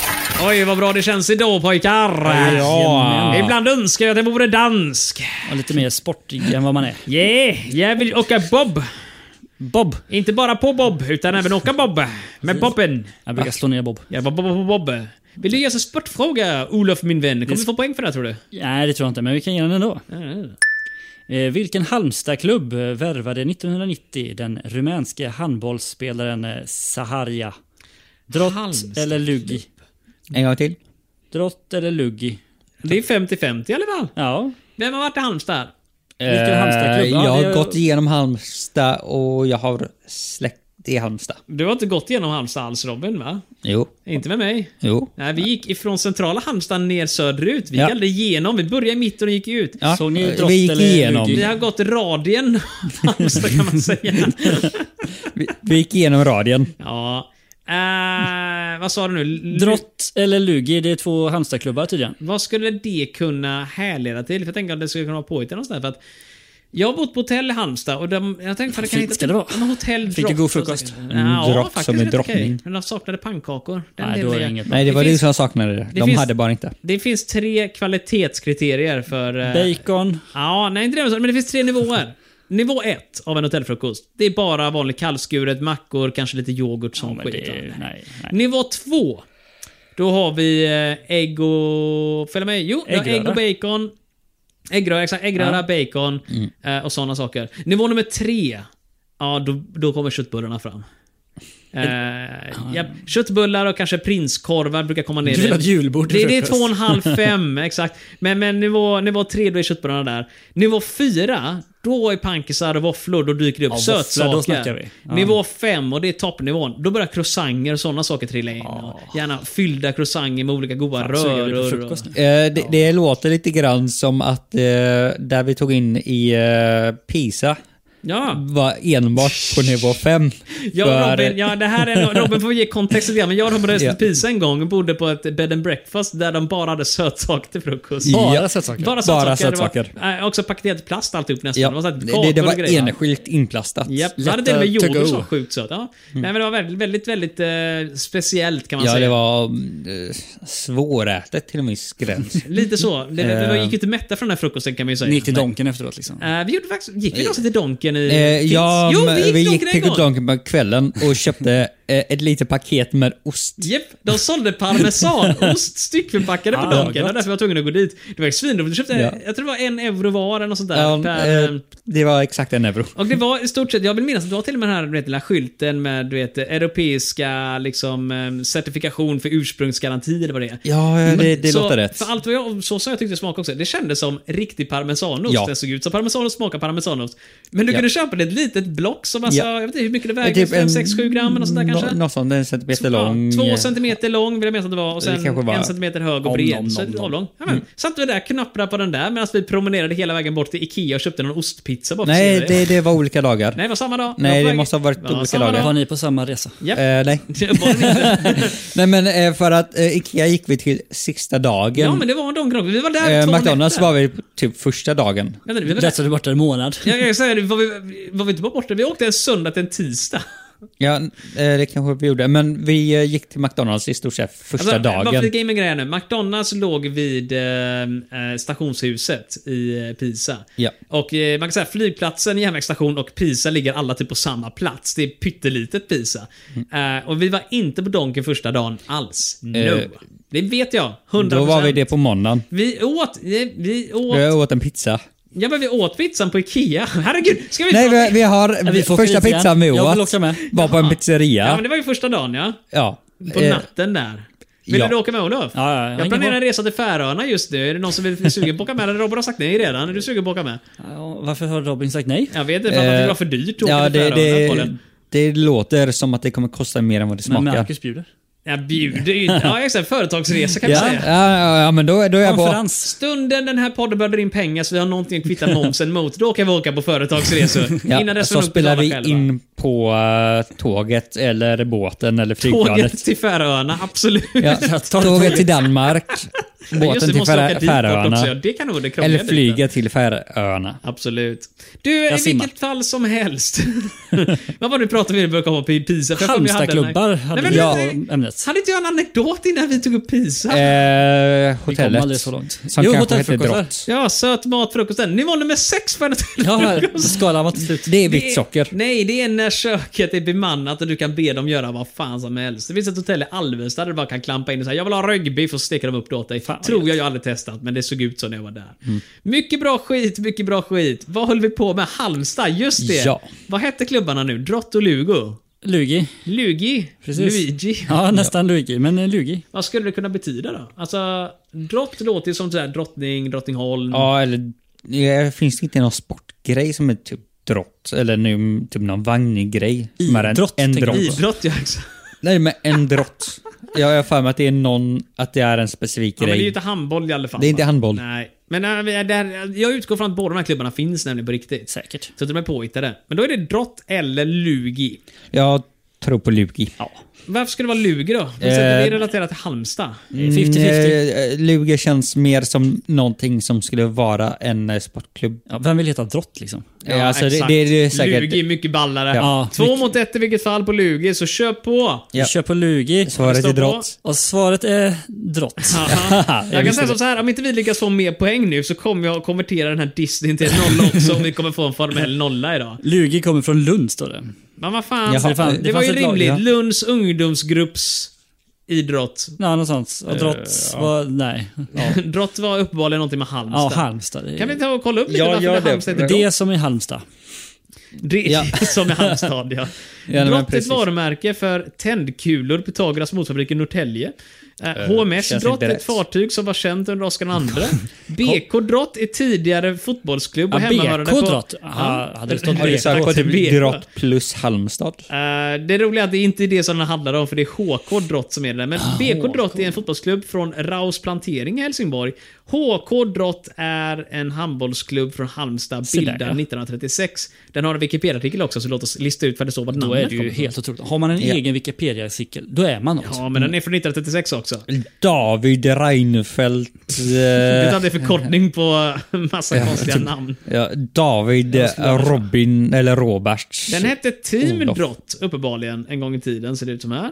Oj, vad bra det känns idag pojkar.
Ja.
Ibland önskar jag att jag vore dansk.
Och lite mer sportig än vad man är.
Yeah, jag vill åka bob. Bob. Inte bara på bob, utan även åka bob. Med bobben.
Jag brukar slå ner Bob.
Jag var bob, bob, bob. Vill du ge oss en sportfråga, Olof min vän? Kommer vi få poäng för det här, tror du?
Nej, det tror jag inte, men vi kan ge den ändå. Eh, vilken Halmstadklubb eh, värvade 1990 den rumänske handbollsspelaren eh, Saharia? Drott
Halmstadklubb.
eller Luggi?
En gång till.
Drott eller Luggi?
Det är 50-50 i alla fall.
Ja,
Vem har varit i Halmstad?
Vilken Halmstadklubb? Ja,
Eh, Jag
det
har
är-
gått igenom Halmstad och jag har släkt i Halmstad.
Du har inte gått igenom Halmstad alls, Robin, va?
Jo,
Inte med mig.
jo.
Nej, vi gick ifrån centrala Halmstad ner söderut. Vi
Ja.
gick aldrig igenom. Vi började i mitten och gick ut.
Ja,
Såg ni
eh,
Drott
vi gick
eller
igenom.
Vi
Lugi?
har gått radien Halmstad kan man säga.
Vi, vi gick igenom radien.
Ja. Eh, vad sa du nu? L-
Drott eller Lugi, det är två Halmstadklubbar tydligen.
Vad skulle det kunna härleda till? För jag tänker att det skulle kunna vara påhittat någonstans. För att jag har bott på hotell i Halmstad och de, jag tänkte fan det kan
Fint
hitta
ska det vara.
Men hotell
Fick du
drott
god
och
frukost?
så-
Mm,
Ja,
drott
faktiskt
som en
rätt okej.
drottning.
Men de saknade pannkakor. Den
Nej, då är det
delen jag-
inget bra.
Nej, det var
Det
du
finns-
som saknade det. De
finns-
hade bara inte.
Det finns tre kvalitetskriterier för... eh,
Bacon.
Ja, nej inte det men det finns tre nivåer. Nivå ett av en hotellfrukost. Det är bara vanlig kallskuret, mackor, kanske lite yoghurt, sån
men
skit.
det är- nej, nej.
Nivå två. Då har vi eh, ägg och... Följ med? Jo, vi har ägg och
Äggröra. Mm.
bacon. Äggröra, exakt. Äggröra, bacon eh, och såna saker. Nivå nummer tre. Ja, då, då kommer köttbullarna fram. Eh, ja, köttbullar och kanske prinskorvar brukar komma ner.
Grillat julbord till
Det, det är
frukost.
två och en halv, fem, exakt. Men, men nivå, nivå tre, då är köttbullarna där. Nivå fyra, då är pankisar och våfflor, då dyker det upp
Ja, våfflor,
sötsaker.
då snackar vi. Ja.
Nivå fem, och det är toppnivån, då börjar croissanter och sådana saker trilla in. Och gärna fyllda croissanter med olika goda
Fan, sugen blir på
röror. Och...
frukost nu.
Eh, det, det låter lite grann som att eh, där vi tog in i eh, Pisa
Ja.
var enbart på nivå 5.
Ja, Robin, ja, det här är, Robin får ge kontext lite grann, men jag och Robin reste
Ja.
till Pisa en gång och bodde på ett bed and breakfast där de bara hade sötsaker till frukost.
Bara
sötsaker.
Bara sötsaker.
Bara
Det var, äh, också paketerat plast alltihop nästan.
Ja,
Det var, så här
det,
kakor
det, det
och
var
grejer.
enskilt inplastat.
Japp, så hade
Lätta
till och med
to
yoghurt
go.
som var sjukt söt. Ja. Nej, men det var väldigt, väldigt, väldigt eh, speciellt kan man
Mm. Ja,
säga.
det var eh, svårätet till en viss gräns.
Lite så. Det, det,
Eh.
var- gick ju inte mätta från den här frukosten kan man ju säga.
Ni gick till Donken efteråt liksom.
Eh, vi gjorde faktiskt, gick vi någonsin till Donken i...
Eh,
Finns-
ja,
jo,
men
vi gick,
vi
Donken
gick
en
till
gång!
Donken på kvällen och köpte eh, ett litet paket med ost.
Japp, de sålde parmesanost styckförpackade på
Ah,
Donken. Det var
gott.
därför jag var tvungen att gå dit. Det var ju svinroligt. Jag köpte,
Ja.
jag tror det var en euro var eller något sånt där.
Ja,
per,
eh, det var exakt en euro.
Och det var i stort sett, jag vill minnas att det var till och med den här du vet, lilla skylten med du vet, europeiska liksom, eh, certifikation för ursprungsgaranti eller vad det är.
Ja, eh, det, det
så,
låter rätt.
För allt vad jag, så som jag tyckte det smakade också, det kändes som riktig parmesanost.
Ja.
Den såg ut som parmesanost, smakade parmesanost. Men du
Ja.
kunde köpa det i ett litet block som alltså,
Ja.
jag vet inte hur mycket det
Eh,
vägde,
typ en
5-6-7 gram eller sånt där kanske?
något sånt, en centimeter
Ja,
lång.
Två
eh,
centimeter lång vill jag minnas att det var och
Det
sen
kanske var
en centimeter hög och
om,
bred.
om,
så
om, om. Mm.
avlång. Jajamän. Satt vi där knapprade på den där medan vi promenerade hela vägen bort till Ikea och köpte någon ostpizza bara för att se
Nej, det, det var olika dagar.
Nej, det var samma dag.
Nej,
Jag
det
på väg-
måste ha varit olika
samma
dagar.
Var
dag.
ni på samma resa?
Japp.
Eh, nej.
Det var det inte.
nej, men eh, för att eh, Ikea gick vi till sista dagen.
Ja, men det var de grejerna. Vi var där
eh,
två
McDonalds
nätter.
var vi på typ första dagen.
Vänta nu, vi var där.
Rätt så du borta en månad.
Jag kan säga det, var vi, var vi inte bara borta? Vi åkte en söndag till en tisdag.
Ja, eh, det kanske vi gjorde. Men vi eh, gick till McDonalds i stort sett första
Alltså, Varför
dagen.
fick jag in en grej här nu? McDonalds låg vid eh, eh, stationshuset i eh, Pisa.
Ja.
Och eh, man kan säga flygplatsen, järnvägsstation och Pisa ligger alla typ på samma plats. Det är pyttelitet Pisa. Eh, och vi var inte på Donken första dagen alls. No.
Mm. Eh,
det vet jag. 100%.
Då var vi det på måndagen.
Vi åt... Vi, vi åt...
Jag åt en pizza.
Ja men vi åt pizzan på Ikea. Herregud, ska vi
Nej,
prata-
vi, vi har...
vi får
första
kriga.
pizzan vi åt
Jag vill också med.
var på en pizzeria.
Ja men det var ju första dagen ja.
Ja.
På
Eh,
natten där. Vill
ja.
du åka med Olof?
Ja, ja, ja.
jag
Ingen
planerar
fara.
en resa till Färöarna just nu. Är det någon som är sugen på att åka med? Eller Robert har sagt nej redan. Är du sugen på att åka med?
Ja, varför har Robin sagt nej?
Jag vet inte, för han tyckte det var för dyrt att åka
Eh, ja,
till
det,
Färöarna.
det,
Pollen.
det låter som att det kommer kosta mer än vad det
Men
smakar.
Marcus bjuder.
Jag bjuder ju inte. Ja, exakt. Företagsresa kan vi
Ja,
säga.
ja, ja, ja, men då, då är jag på.
Konferens.
Stunden den här podden börjar dra in pengar så vi har någonting att kvitta momsen mot, då kan vi åka på företagsresor. Innan
Ja,
dess får
så
nog
spelar
betala
vi
själva.
in på eh, tåget eller båten eller flygplanet.
Tåget till Färöarna, absolut.
Ja, tåget till Danmark,
Just
båten
det,
till
måste åka
Fär-
dit bort också. Ja,
Färöarna
det kan nog det krångliga
eller
biten.
flyga till Färöarna.
Absolut. Du, i
simmar.
vilket fall som helst. Vad var det vi pratade om när vi började komma upp i Pisa? För jag får mig hade den här-
Halmstadklubbar hade
Nej,
vi
men
ja,
du-
ämnet. Eh.
Hade inte jag en anekdot innan vi tog upp Pisa?
Eh,
Vi kom aldrig
hotellet.
så långt.
Som
Jo,
kanske heter
hotellfrukostar.
Drott.
Ja, söt mat, frukosten. Nivå nummer sex för en
Ja,
hotellfrukost.
skalan var till slut.
Det är
Det är-
vitt socker.
Nej, det är när köket är bemannat och du kan be dem göra vad fan som helst. Det finns ett hotell i Alvesta där du bara kan klampa in och säga jag vill ha röggbiff och steker de upp det åt dig.
vad
Tror jag, jag har aldrig testat, men det såg ut så när jag var där. Mycket bra skit, mycket bra skit. Vad höll vi på med? Halmstad, just det.
Ja.
Vad hette klubbarna nu? Drott och Lugo?
Lugi.
Lugi?
Precis.
Luigi?
Ja, nästan Lugi, men eh, Lugi.
Vad skulle det kunna betyda då? Alltså, drott låter ju som sådär drottning, drottningholm.
Ja, eller eh, finns det inte någon sportgrej som är typ drott? Eller nu, typ någon vagngrej? som är en-
Idrott,
en
tänker
drott.
jag.
Idrott ja, exakt.
Nej, men en drott. Jag har för mig att det är någon, att det är en specifik
Ja, men
grej.
det är ju inte handboll i alla fall.
Det är inte
va?
handboll.
Nej. Men äh, vi är där, jag utgår från att båda de här klubbarna finns nämligen på riktigt.
Säkert.
Så att de är påhittade. Men då är det drott eller lugi.
Jag tror på Lugi.
Ja. Varför skulle det vara lugi då? Finns inte det relaterat till Halmstad?
mm,
50-50.
Eh, Lugi känns mer som någonting som skulle vara en eh, sportklubb.
Ja, vem vill heta Drott liksom?
Eh, alltså, det, det, det är säkert...
Lugi är mycket ballare.
Ja.
Två mot ett i vilket fall på lugi, så köp på!
Ja.
Vi kör på Lugi.
Svaret är
Står på.
drott.
Och svaret är Drott.
Aha. Jag kan
visste
säga som
det.
så här, om inte vi lyckas få mer poäng nu så kommer jag att konvertera den här Disney till en nolla också om vi kommer få en formell nolla idag.
Lugi kommer från Lund, står det.
Men vad fan,
Jaha,
det,
fan,
det
det
var ju
fanns ett lag,
rimligt.
ja.
Lunds ungdomsgrupps idrott.
Ja, något sånt. Och Drott var... Nej.
Drott var uppenbarligen någonting med
Ja,
Halmstad.
Halmstad. det är-
kan vi ta och kolla upp lite
Ja,
varför
gör
det
det.
Halmstad heter
Det som är Halmstad.
Det
Ja.
som är Halmstad, ja.
men
Drott är ett
precis.
varumärke för tändkulor, Pythagoras motorfabrik i Norrtälje. Eh, HMS
känns
Drott
inte
är ett
rätt.
fartyg som var känt under Oscar II. BK Drott är tidigare fotbollsklubb
Ja,
och hemmahörande
BK
på...
Drott. Ja, hade det stått
Har du sagt på typ
BK?
drott plus Halmstad?
Eh, det roliga är att det inte är det som den handlar om, för det är HK Drott som är det där. Men
Ah,
BK Drott är en fotbollsklubb från Raus Plantering i Helsingborg. HK Drott är en handbollsklubb från Halmstad,
Se där,
bildad
ja.
1936. Den har en Wikipedia-artikel också, så låt oss lista ut vad det står vad
Då är
namnet
det
kommer
ju
från.
helt otroligt. Har man en
Ja.
egen Wikipedia-artikel, då är man något.
Ja, men den är från 1936 också.
David Reinfeldt...
Utan
Eh,
det är förkortning på massa
Ja,
konstiga
typ.
namn.
ja, David eh, Robin eller Roberts.
Den hette Team
Olof.
Drott, uppenbarligen, en gång i tiden, ser det ut som här.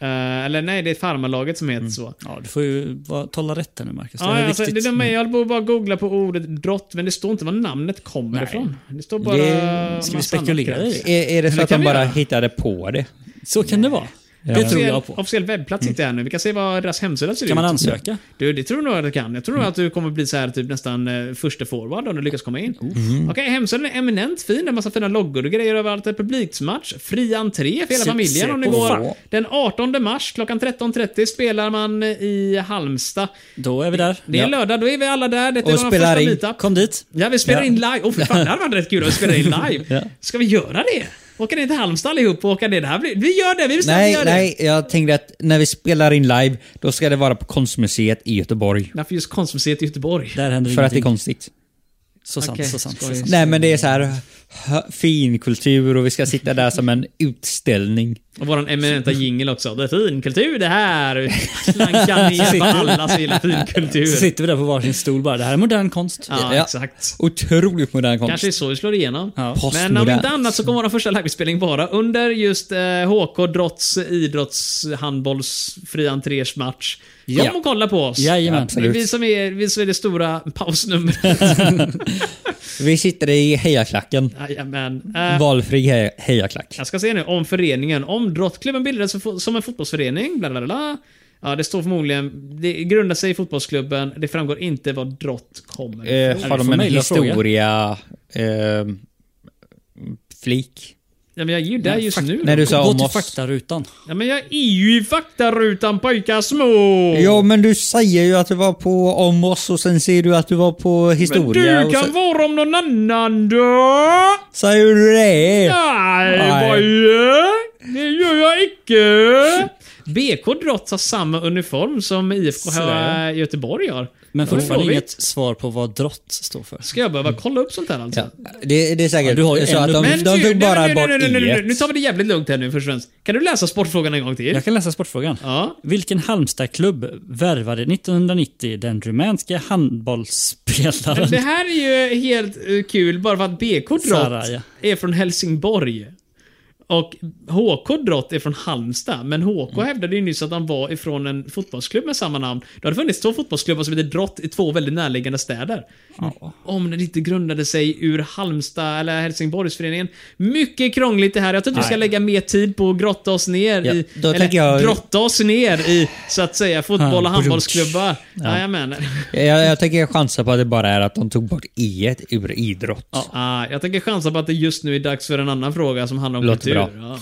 Eh, eller nej, det är farmarlaget som heter
Mm.
så.
Ja, du får ju vara- tala rätt här nu Marcus. Det
Ja,
är
alltså, det
viktigt.
är med, jag höll på att bara googla på ordet drott, men det står inte var namnet kommer
Nej.
ifrån. Det står bara...
Det-
Ska vi
massa
spekulera
annat.
i det?
Är, är det så
det
att
kan
de
vi
bara
göra.
hittade på det?
Så kan det vara. Det tror
Officiell,
jag på.
officiell webbplats sitter jag nu. Vi kan se vad deras hemsida ser
Mm. Kan man
ut.
ansöka? Mm.
Du, det tror jag nog att du kan. Jag tror nog att du kommer bli så här typ nästan eh, första forward om du lyckas komma in. Mm.
Mm.
Okej, hemsidan är eminent fin. Det är en massa fina loggor och grejer överallt. En publiksmatch. Fri entré för hela
Se-
familjen
se
om det
på
går.
fan.
Den 18 mars klockan 13.30 spelar man i Halmstad.
Då är vi där.
Det är
Ja.
lördag, då är vi alla där. Detta
Och
är vår
spelar
första
in.
meetup.
Kom dit.
Ja, vi spelar
Ja.
in live. Åh, för fan, det hade varit rätt kul att spela in live.
Ja.
Ska vi göra det? Åka ner till Halmstad allihop och åka ner. Det här blir, vi gör det, vi bestämmer
Nej,
vi gör
nej, jag tänkte att när vi spelar in live, då ska det vara på Konstmuseet i Göteborg.
det. Varför just konstmuseet i Göteborg?
Där händer
För att det är
ingenting.
konstigt.
Så sant,
Okej,
så sant. Så
skoj.
sant.
Nej, men det är så här hö- fin kultur och vi ska sitta där som en utställning.
Och våran eminenta jingel också. Det är finkultur det här! Slanka ner på allas vill
Så
finkultur.
sitter vi där på varsin stol bara. Det här är modern konst.
Ja,
Ja.
exakt.
Otroligt modern konst.
Kanske är så vi slår igenom.
Ja.
Men om
Postmodern.
inte annat så kommer vår första livespelning vara under just eh, HK Drotts idrotts handbolls fri entrésmatch. Kom
Ja.
och kolla på oss.
Jajamän.
Det är
Absolut.
vi som är, vi som är det stora pausnumret.
Vi sitter i hejaklacken.
Jajamän.
Mm.
Eh,
Valfri he- hejaklack.
Jag ska se nu om föreningen. Om Drottklubben bildades fo- som en fotbollsförening, bla bla bla, bla. Ja, det står förmodligen... Det grundar sig i fotbollsklubben. Det framgår inte var Drott kommer ifrån.
Eh, har
du får
de en
mejla frågan.
historia... Eh, flik?
Ja, men jag är ju där just nu.
När du sa
Gå
om
till
oss.
faktarutan.
Ja, men jag är ju i faktarutan pojkar små!
Ja, men du säger ju att du var på om oss och sen säger du att du var på
men
historia.
du
och
kan
så,
vara om någon annan då!
Säger du det?
Nej,
Nej.
boje! Det gör jag icke! BK Drott har samma uniform som IFK här i Göteborg har.
Men fortfarande
Blåvitt.
inget svar på vad drott står för.
Ska jag behöva kolla upp sånt här alltså?
Ja, det, det är säkert
Ja, du har ju
så
en
att de,
lucka.
Men
de
du,
tog
nu,
bara
nu,
bort
nu, nu, nu, nu, nu,
i
nu tar vi det jävligt lugnt här nu först och främst. Kan du läsa sportfrågan en gång till?
Jag kan läsa sportfrågan.
Ja.
Vilken Halmstadklubb värvade 1990 den rumänska handbollsspelaren?
Det här är ju helt eh, kul bara för att BK Drott
Saraja.
är från Helsingborg. Och HK Drott är från Halmstad, men HK
Mm.
hävdade ju nyss att han var ifrån en fotbollsklubb med samma namn. Det har funnits två fotbollsklubbar som heter Drott i två väldigt närliggande städer. Om den inte grundade sig ur Halmstad eller Helsingborgsföreningen. Mycket krångligt det här. Jag tror att vi ska lägga mer tid på att grotta oss ner
Ja,
i...
då
Eller
tänker jag-
grotta oss ner i, så att säga, fotboll och handbollsklubbar. Jajamän.
jag, jag tänker chansa på att det bara är att de tog bort i ur idrott.
Ah, jag tänker chansa på att det just nu är dags för en annan fråga som handlar om
Låter
kultur.
bra.
Ja.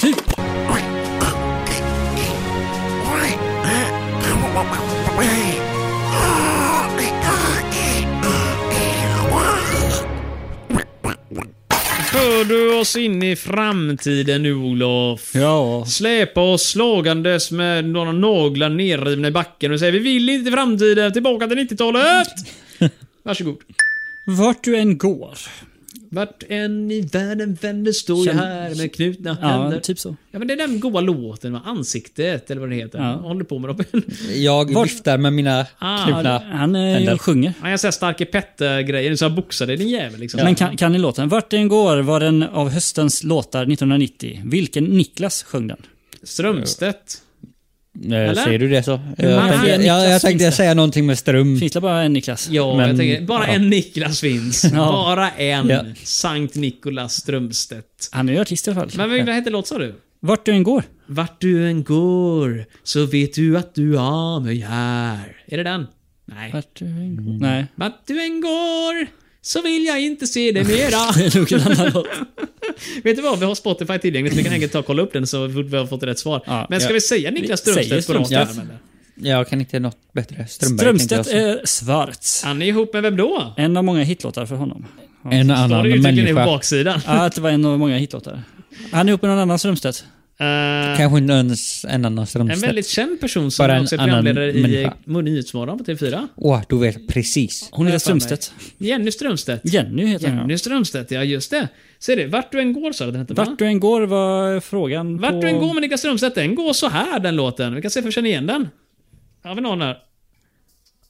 Finkultur.
För du oss in i framtiden nu, Olof?
Ja.
Släpa oss slagandes med några naglar nerrivna i backen och säger vi vill inte till framtiden, tillbaka till 90-talet! Varsågod.
Vart du än går.
Vart än i världen vänder står jag
Känn-
här med knutna händer.
Ja, typ så.
Ja, men det är den goa låten, va? Ansiktet, eller vad det heter.
Ja.
Jag håller på med Robin.
Jag viftar med mina
Ah,
Ja,
knutna...
Han eh,
Händer.
sjunger.
Ja, jag säger Starke Petter-grejen, så jag boxade din jävel liksom.
Men kan, kan ni låten? Vart den går var en av höstens låtar 1990. Vilken Niklas sjöng den?
Mm.
Strömstedt.
Eh,
Eller?
Säger du det så?
många
Jag tänkte, jag,
Niklas
jag tänkte
finns det?
säga någonting med ström.
Finns det bara en Niklas?
Ja,
Men-
jag tänker, bara
ja.
en Niklas finns. Bara en.
Ja.
Sankt Nikolas Strömstedt.
Han är ju artist i alla fall.
Men vad vad hette låt sa du?
Vart du än går.
Vart du än går så vet du att du har mig här. Är det den? Nej.
Vart du än går. Mm. Nej.
Vart du än går så vill jag inte se dig mera.
Det är nog en annan låt.
Vet du vad? Vi har Spotify tillgängligt. Vi kan enkelt ta och kolla upp den så fort vi har fått rätt svar.
Ja,
Men ska
ja.
vi säga Niklas
Vi säger
Strömstedt på rakt
Strömstedt.
arm, eller?
Jag kan inte något bättre. Strömberg
Strömstedt
tänkte jag
är svart.
Han är ihop med vem då?
En av många hitlåtar för honom.
så. En
Står det ju
annan
tydligen på
människa.
baksidan. Eh,
Ja, att det var en av många hitlåtar. Han är ihop med någon annan Strömstedt.
Eh,
Kanske inte ens en annan
En
Strömstedt.
väldigt känd person som
Bara en
också är
annan
programledare i
människa.
Nyhetsmorgon på TV4.
Åh, du vet precis.
Hon
Jag
heter
har för mig.
Strömstedt.
Jenny Strömstedt.
Jenny heter hon. ja.
Jenny Strömstedt, ja just det. Ser du, Vart du än går sa du den hette va?
Vart du än går var frågan på...
Vart du än går med Niklas Strömstedt, den går så här den låten. Vi kan se om vi känner igen den. Har vi någon här?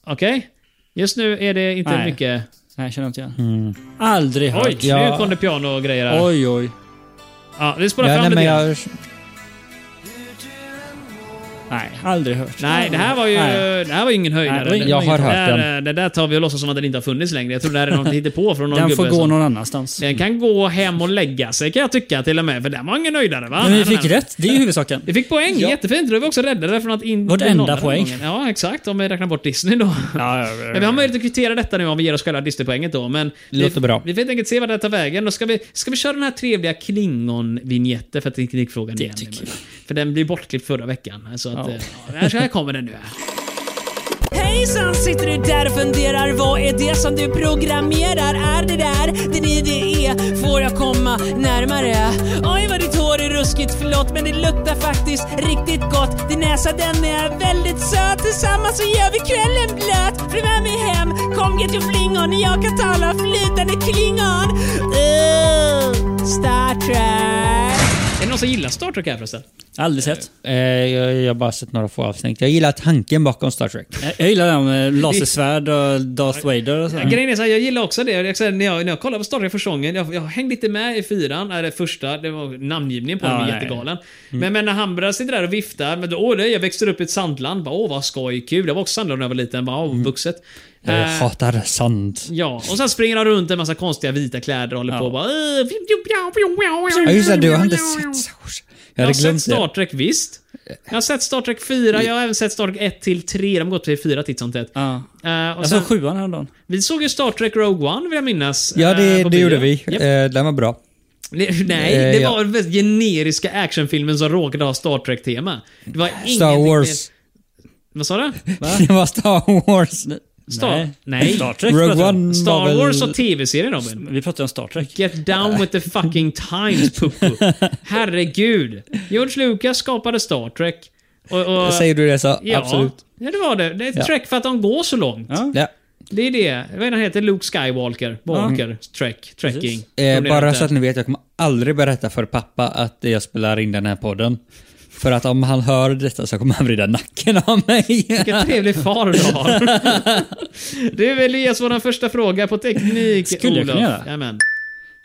Okej. Just nu är det inte
Nej.
mycket...
Nej, jag känner inte igen. Aldrig
Mm. Oj,
hört.
nu
Ja.
kom det piano och grejer här.
Oj, oj.
Ja, vi spolar
Ja,
fram
nej,
lite
men
grann.
jag,
Nej, aldrig hört.
Nej, det här var ju,
Nej.
det här var ju ingen
Nej,
höjdare.
det var ingen
jag har
det,
hört den.
där, eh, det där tar vi och låtsas som att den inte har funnits längre. Jag tror det här är något hittepå från någon
Den
gubbe.
får gå
som-
någon annanstans.
Den kan gå hem och lägga sig kan jag tycka till och med, för den var ingen nöjdare va?
Men vi
Nej,
fick
nej.
rätt, det är ju huvudsaken.
Vi fick poäng, jättefint. Då var vi också räddade från att inte
Vårt
nolla
enda
den
poäng.
gången. Ja, exakt. Om vi räknar bort Disney då. Men vi har möjlighet att kvittera detta nu om vi ger oss själva Disney-poänget då. Men vi,
Låter bra.
Vi får helt enkelt se vad det tar vägen. Då ska vi, ska vi köra den här trevliga Klingon-vinjetten för teknikfrågan igen.
tycker
För den blev bortklippt förra veckan. Så att,
Ja.
ja. Ja, här- här kommer den nu. Här.
Hejsan, sitter du där och funderar? Vad är det som du programmerar? Är det där din idé? Får jag komma närmare? Oj, vad ditt hår är ruskigt, förlåt, men det luktar faktiskt riktigt gott. Din näsa, den är väldigt söt. Tillsammans så gör vi kvällen blöt. Följ med mig hem, kom get your flingon. Jag kan tala flytande klingon. Uh, Star Trek.
Är det någon som gillar Star Trek här förresten?
Aldrig sett.
Eh, jag, jag har bara sett några få avsnitt. Jag gillar tanken bakom Star Trek.
Jag, jag gillar det här med lasersvärd och Darth Vader och så.
Mm. Grejen är så här, jag gillar också det. Jag, säger, när, jag, när jag kollade på Star Trek första gången, jag, jag hängde inte med i fyran, eller första, det var namngivningen på
Ja,
honom,
nej.
jättegalen.
Mm.
Men, men när han började sitta där och vifta, men, då, åh, det, jag växte upp i ett sandland, bara, åh vad skoj, kul. Jag var också sandland när jag var liten, bara, åh, vuxet.
Mm. Jag
Eh,
hatar sand.
Ja, och sen springer han runt i en massa konstiga vita kläder och håller på och bara... "Åh, pju, pju, pju, pju, pju,
Ja,
pju."
just det, du har inte sett Star Wars. Jag
Jag har
hade
sett
glömt
Star
det.
Trek, visst. Jag har sett Star Trek 4, jag har även sett Star Trek 1 till 3. De går till 4 titt som tätt.
Ja.
Eh, och
Jag
sen,
såg sjuan häromdagen.
vi såg ju Star Trek Rogue One vill jag minnas.
Ja,
eh,
det,
på
det
bio.
gjorde vi.
Japp.
Eh, Den var bra.
Ne- Nej,
Eh,
det
ja.
var den mest generiska actionfilmen som råkade ha Star Trek-tema. Det var
Star
ingenting
Wars.
mer- Vad sa du?
Det var Star Wars.
Star-
Nej.
Nej.
Star Trek
Rogue
pratar jag om.
One var
Star
väl...
Wars och TV-serien Robin.
Vi pratar ju om Star Trek.
Get down with the fucking times, Puppo. Herregud. George Lucas skapade Star Trek. Och, och,
Säger du det så?
ja,
Absolut.
Ja, det var det. Det är ett
Ja.
Trek för att de går så långt.
Ja.
Ja.
Det är det. Vad är det han heter? Luke Skywalker. Walker. Trek. Trekking.
Mm. Eh,
De blir
bara
inte-
så att ni vet, jag kommer aldrig berätta för pappa att jag spelar in den här podden. För att om han hör detta så kommer han vrida nacken av mig.
Vilken trevlig far du har. du vill ge oss vår första fråga på teknik,
Skulle jag
Olof.
kunna göra?
Jajamän.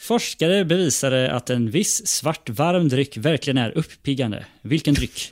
Forskare bevisade att en viss svart varm dryck verkligen är uppiggande. Vilken dryck?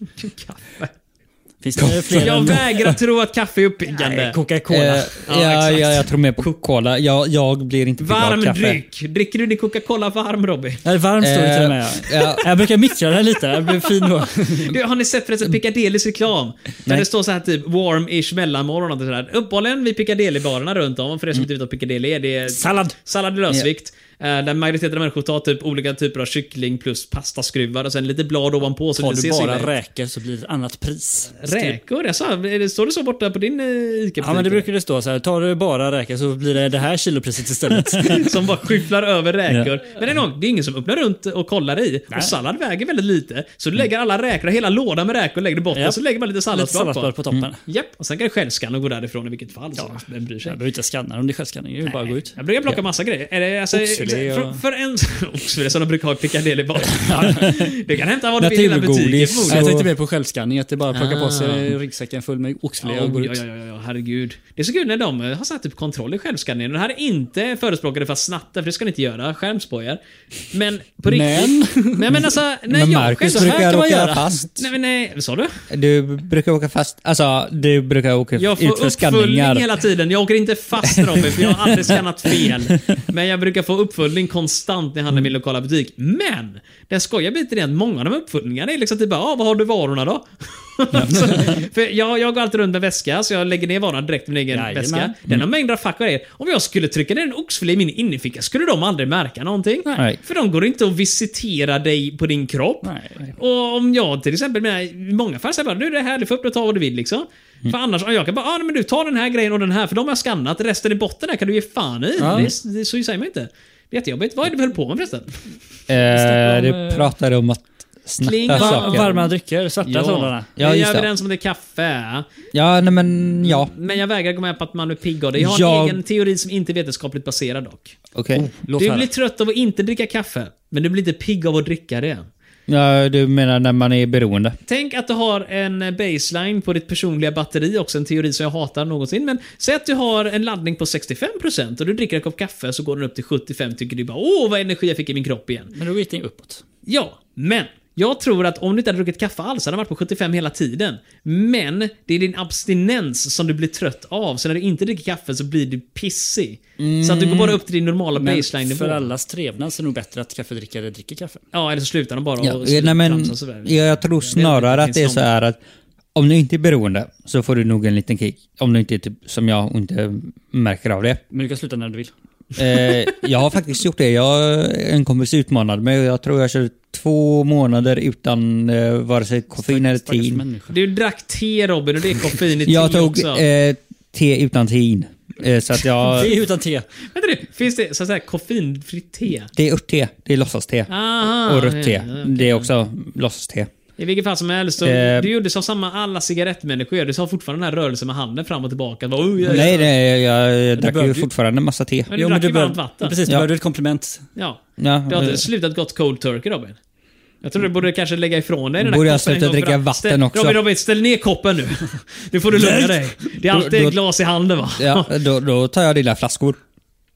Finns det fler?
Jag
än-
vägrar tro att kaffe är uppiggande.
Nej, Coca-Cola.
Eh, ja,
exakt.
ja, jag tror mer på cola. Jag, jag blir inte piggad av
Varm
kaffe.
dryck. Dricker du din Coca-Cola varm, Robin?
Nej, varm står det till och med.
Eh,
Ja.
ja.
Jag brukar mikra det här lite. Jag blir fin då.
Du, har ni sett förresten Piccadillys reklam? Där det står så här typ warm-ish mellanmål och något sådär. Uppehållen vid Piccadilly-barerna runt om, för er som inte vet vad Piccadilly är, det är
Sallad.
sallad i lösvikt. eh, Där majoriteten av människor tar typ olika typer av kyckling plus pastaskruvar och sen lite blad ovanpå. Så
Tar
det
du
ser så illa
bara
ut.
räkor så blir det ett annat pris.
Räkor? Jag sa, är det- står det så borta på din eh, ICA-butik?
Ja men det brukar det stå så här. Tar du bara räkor så blir det det här kilopriset istället.
Som bara skyfflar över räkor. Men det är, någon, det är ingen som öppnar runt och kollar i. Och sallad väger väldigt lite. Så du lägger alla räkor, hela lådan med räkor lägger du bort
Japp.
och så lägger man lite
Lite
salladsblad på.
salladsblad på toppen. Mm.
Japp, och sen kan du självskanna och gå därifrån i vilket fall. Så vem bryr sig?
Jag behöver inte skanna dem, det är självskanning. Det är ju bara att gå ut.
Jag brukar plocka massa grejer. Är det, alltså,
Oxfilé och-
för, för en... Oxfilé som de brukar ha i Piccadilly bara. Du kan hämta vad du vill i dina butiker
Naturgodis.
Nej,
förmodligen.
Jag
Så-
tänkte mer på självskanning, att det bara plockar
Ah.
på sig ryggsäcken full med oxfilé och går
Oj,
ut.
ja, ja, ja, ja, herregud. Det är så kul när de eh, har satt typ kontroll i självskanningen. Och Det här är inte förespråkade för att snatta, för det ska ni inte göra. Skäms på er. Men på riktigt. Men? Nej men alltså, när
Men
jag själv,
Marcus
så här
brukar
kan man
åka
göra.
fast.
Nej men nej, vad sa du?
Du brukar åka fast. Alltså, du brukar åka
Jag
ut
får
för
uppföljning
skanningar.
hela tiden. Jag åker inte fast Robin, för jag har aldrig skannat fel. Men jag brukar få uppföljning konstant när jag handlar i min lokala butik. Men! Den skojiga biten är att många av de uppföljningarna är liksom typ bara, ah, vad har du varorna då? så, för jag, jag går alltid runt med väska, så jag lägger ner varorna direkt i min egen
Jajamän.
väska. Den har mängder av fack och grejer. Om jag skulle trycka ner en oxfilé i min innerficka skulle de aldrig märka någonting.
Nej.
För de går inte att visitera dig på din kropp.
Nej.
Och om jag till exempel, menar, i många fall säger jag bara du det här, du får öppna och ta vad du vill liksom.
Mm.
För annars, om jag kan bara, ah, nej, men du tar den här grejen och den här, för de har jag skannat. Resten i botten där kan du ge fan i. Det, är- det, så säger man inte. Det är jättejobbigt. Vad är det du höll på med förresten?
Eh,
om, eh,
du pratade om att
Klinga
snatta
var-
saker.
Varma drycker, svarta sådana.
Ja,
vi
just
är
det.
överens om att det är kaffe.
Ja, nej men ja.
Men jag vägrar gå med på att man är pigg av det. Jag har en
Jag-
egen teori som inte är vetenskapligt baserad dock.
Okej.
Låt
Du blir
höra.
trött av att inte dricka kaffe, men du blir inte pigg av att dricka det.
Ja, du menar när man är beroende?
Tänk att du har en baseline på ditt personliga batteri också, en teori som jag hatar någonsin. Men säg att du har en laddning på 65% och du dricker en kopp kaffe så går den upp till 75% tycker du bara åh vad energi jag fick i min kropp igen.
Men då gick det uppåt.
Ja, men jag tror att om du inte hade druckit kaffe alls hade den varit på 75 hela tiden. Men det är din abstinens som du blir trött av, så när du inte dricker kaffe så blir du pissig. Så att
Mm.
du går bara upp till din normala
Men
baseline-nivå.
för allas trevnad så är det nog bättre att kaffedrickare dricker kaffe.
Ja, eller så slutar de bara
Ja,
och
nej, men,
tramsar sådär.
jag, jag tror snarare att det är så här att om du inte är beroende så får du nog en liten kick. Om du inte är typ som jag och inte märker av det.
Men du kan sluta när du vill.
Eh, jag har faktiskt gjort det. Jag, en kompis utmanade mig och jag tror jag körde två månader utan eh, vare sig koffein eller
Stackars
tid.
människa.
Du drack te Robin och det är koffein i te
Jag tog
också.
eh, Te utan tein. Eh, Så att jag...
Det är utan te.
Vänta nu, finns det så att säga koffeinfritt te?
Det är örtte, det är låtsaste.
Aha,
Och rött te.
Ah, ja, ja.
Det är också låtsaste.
I vilket fall som helst, så
Eh.
du gjorde som samma alla cigarettmänniskor gör. Du sa fortfarande den här rörelsen med handen fram och tillbaka. Bara, oh, jag,
Nej, nej, jag, jag drack ju
behövde ju-
fortfarande en massa te.
Men du drack ju varmt vatten.
Precis, du
Ja.
behövde ett komplement.
Ja.
Ja,
Du har
eh.
inte slutat gott cold turkey Robin? Jag tror du borde kanske lägga ifrån dig den där
Borde jag
koppen en
sluta
gång för
dricka
alla.
vatten
ställ,
också?
Robin, Robin, ställ ner koppen nu. Nu får du lugna dig. Det är alltid
Då- då-
ett glas i handen va?
Ja, då, då tar jag dina flaskor.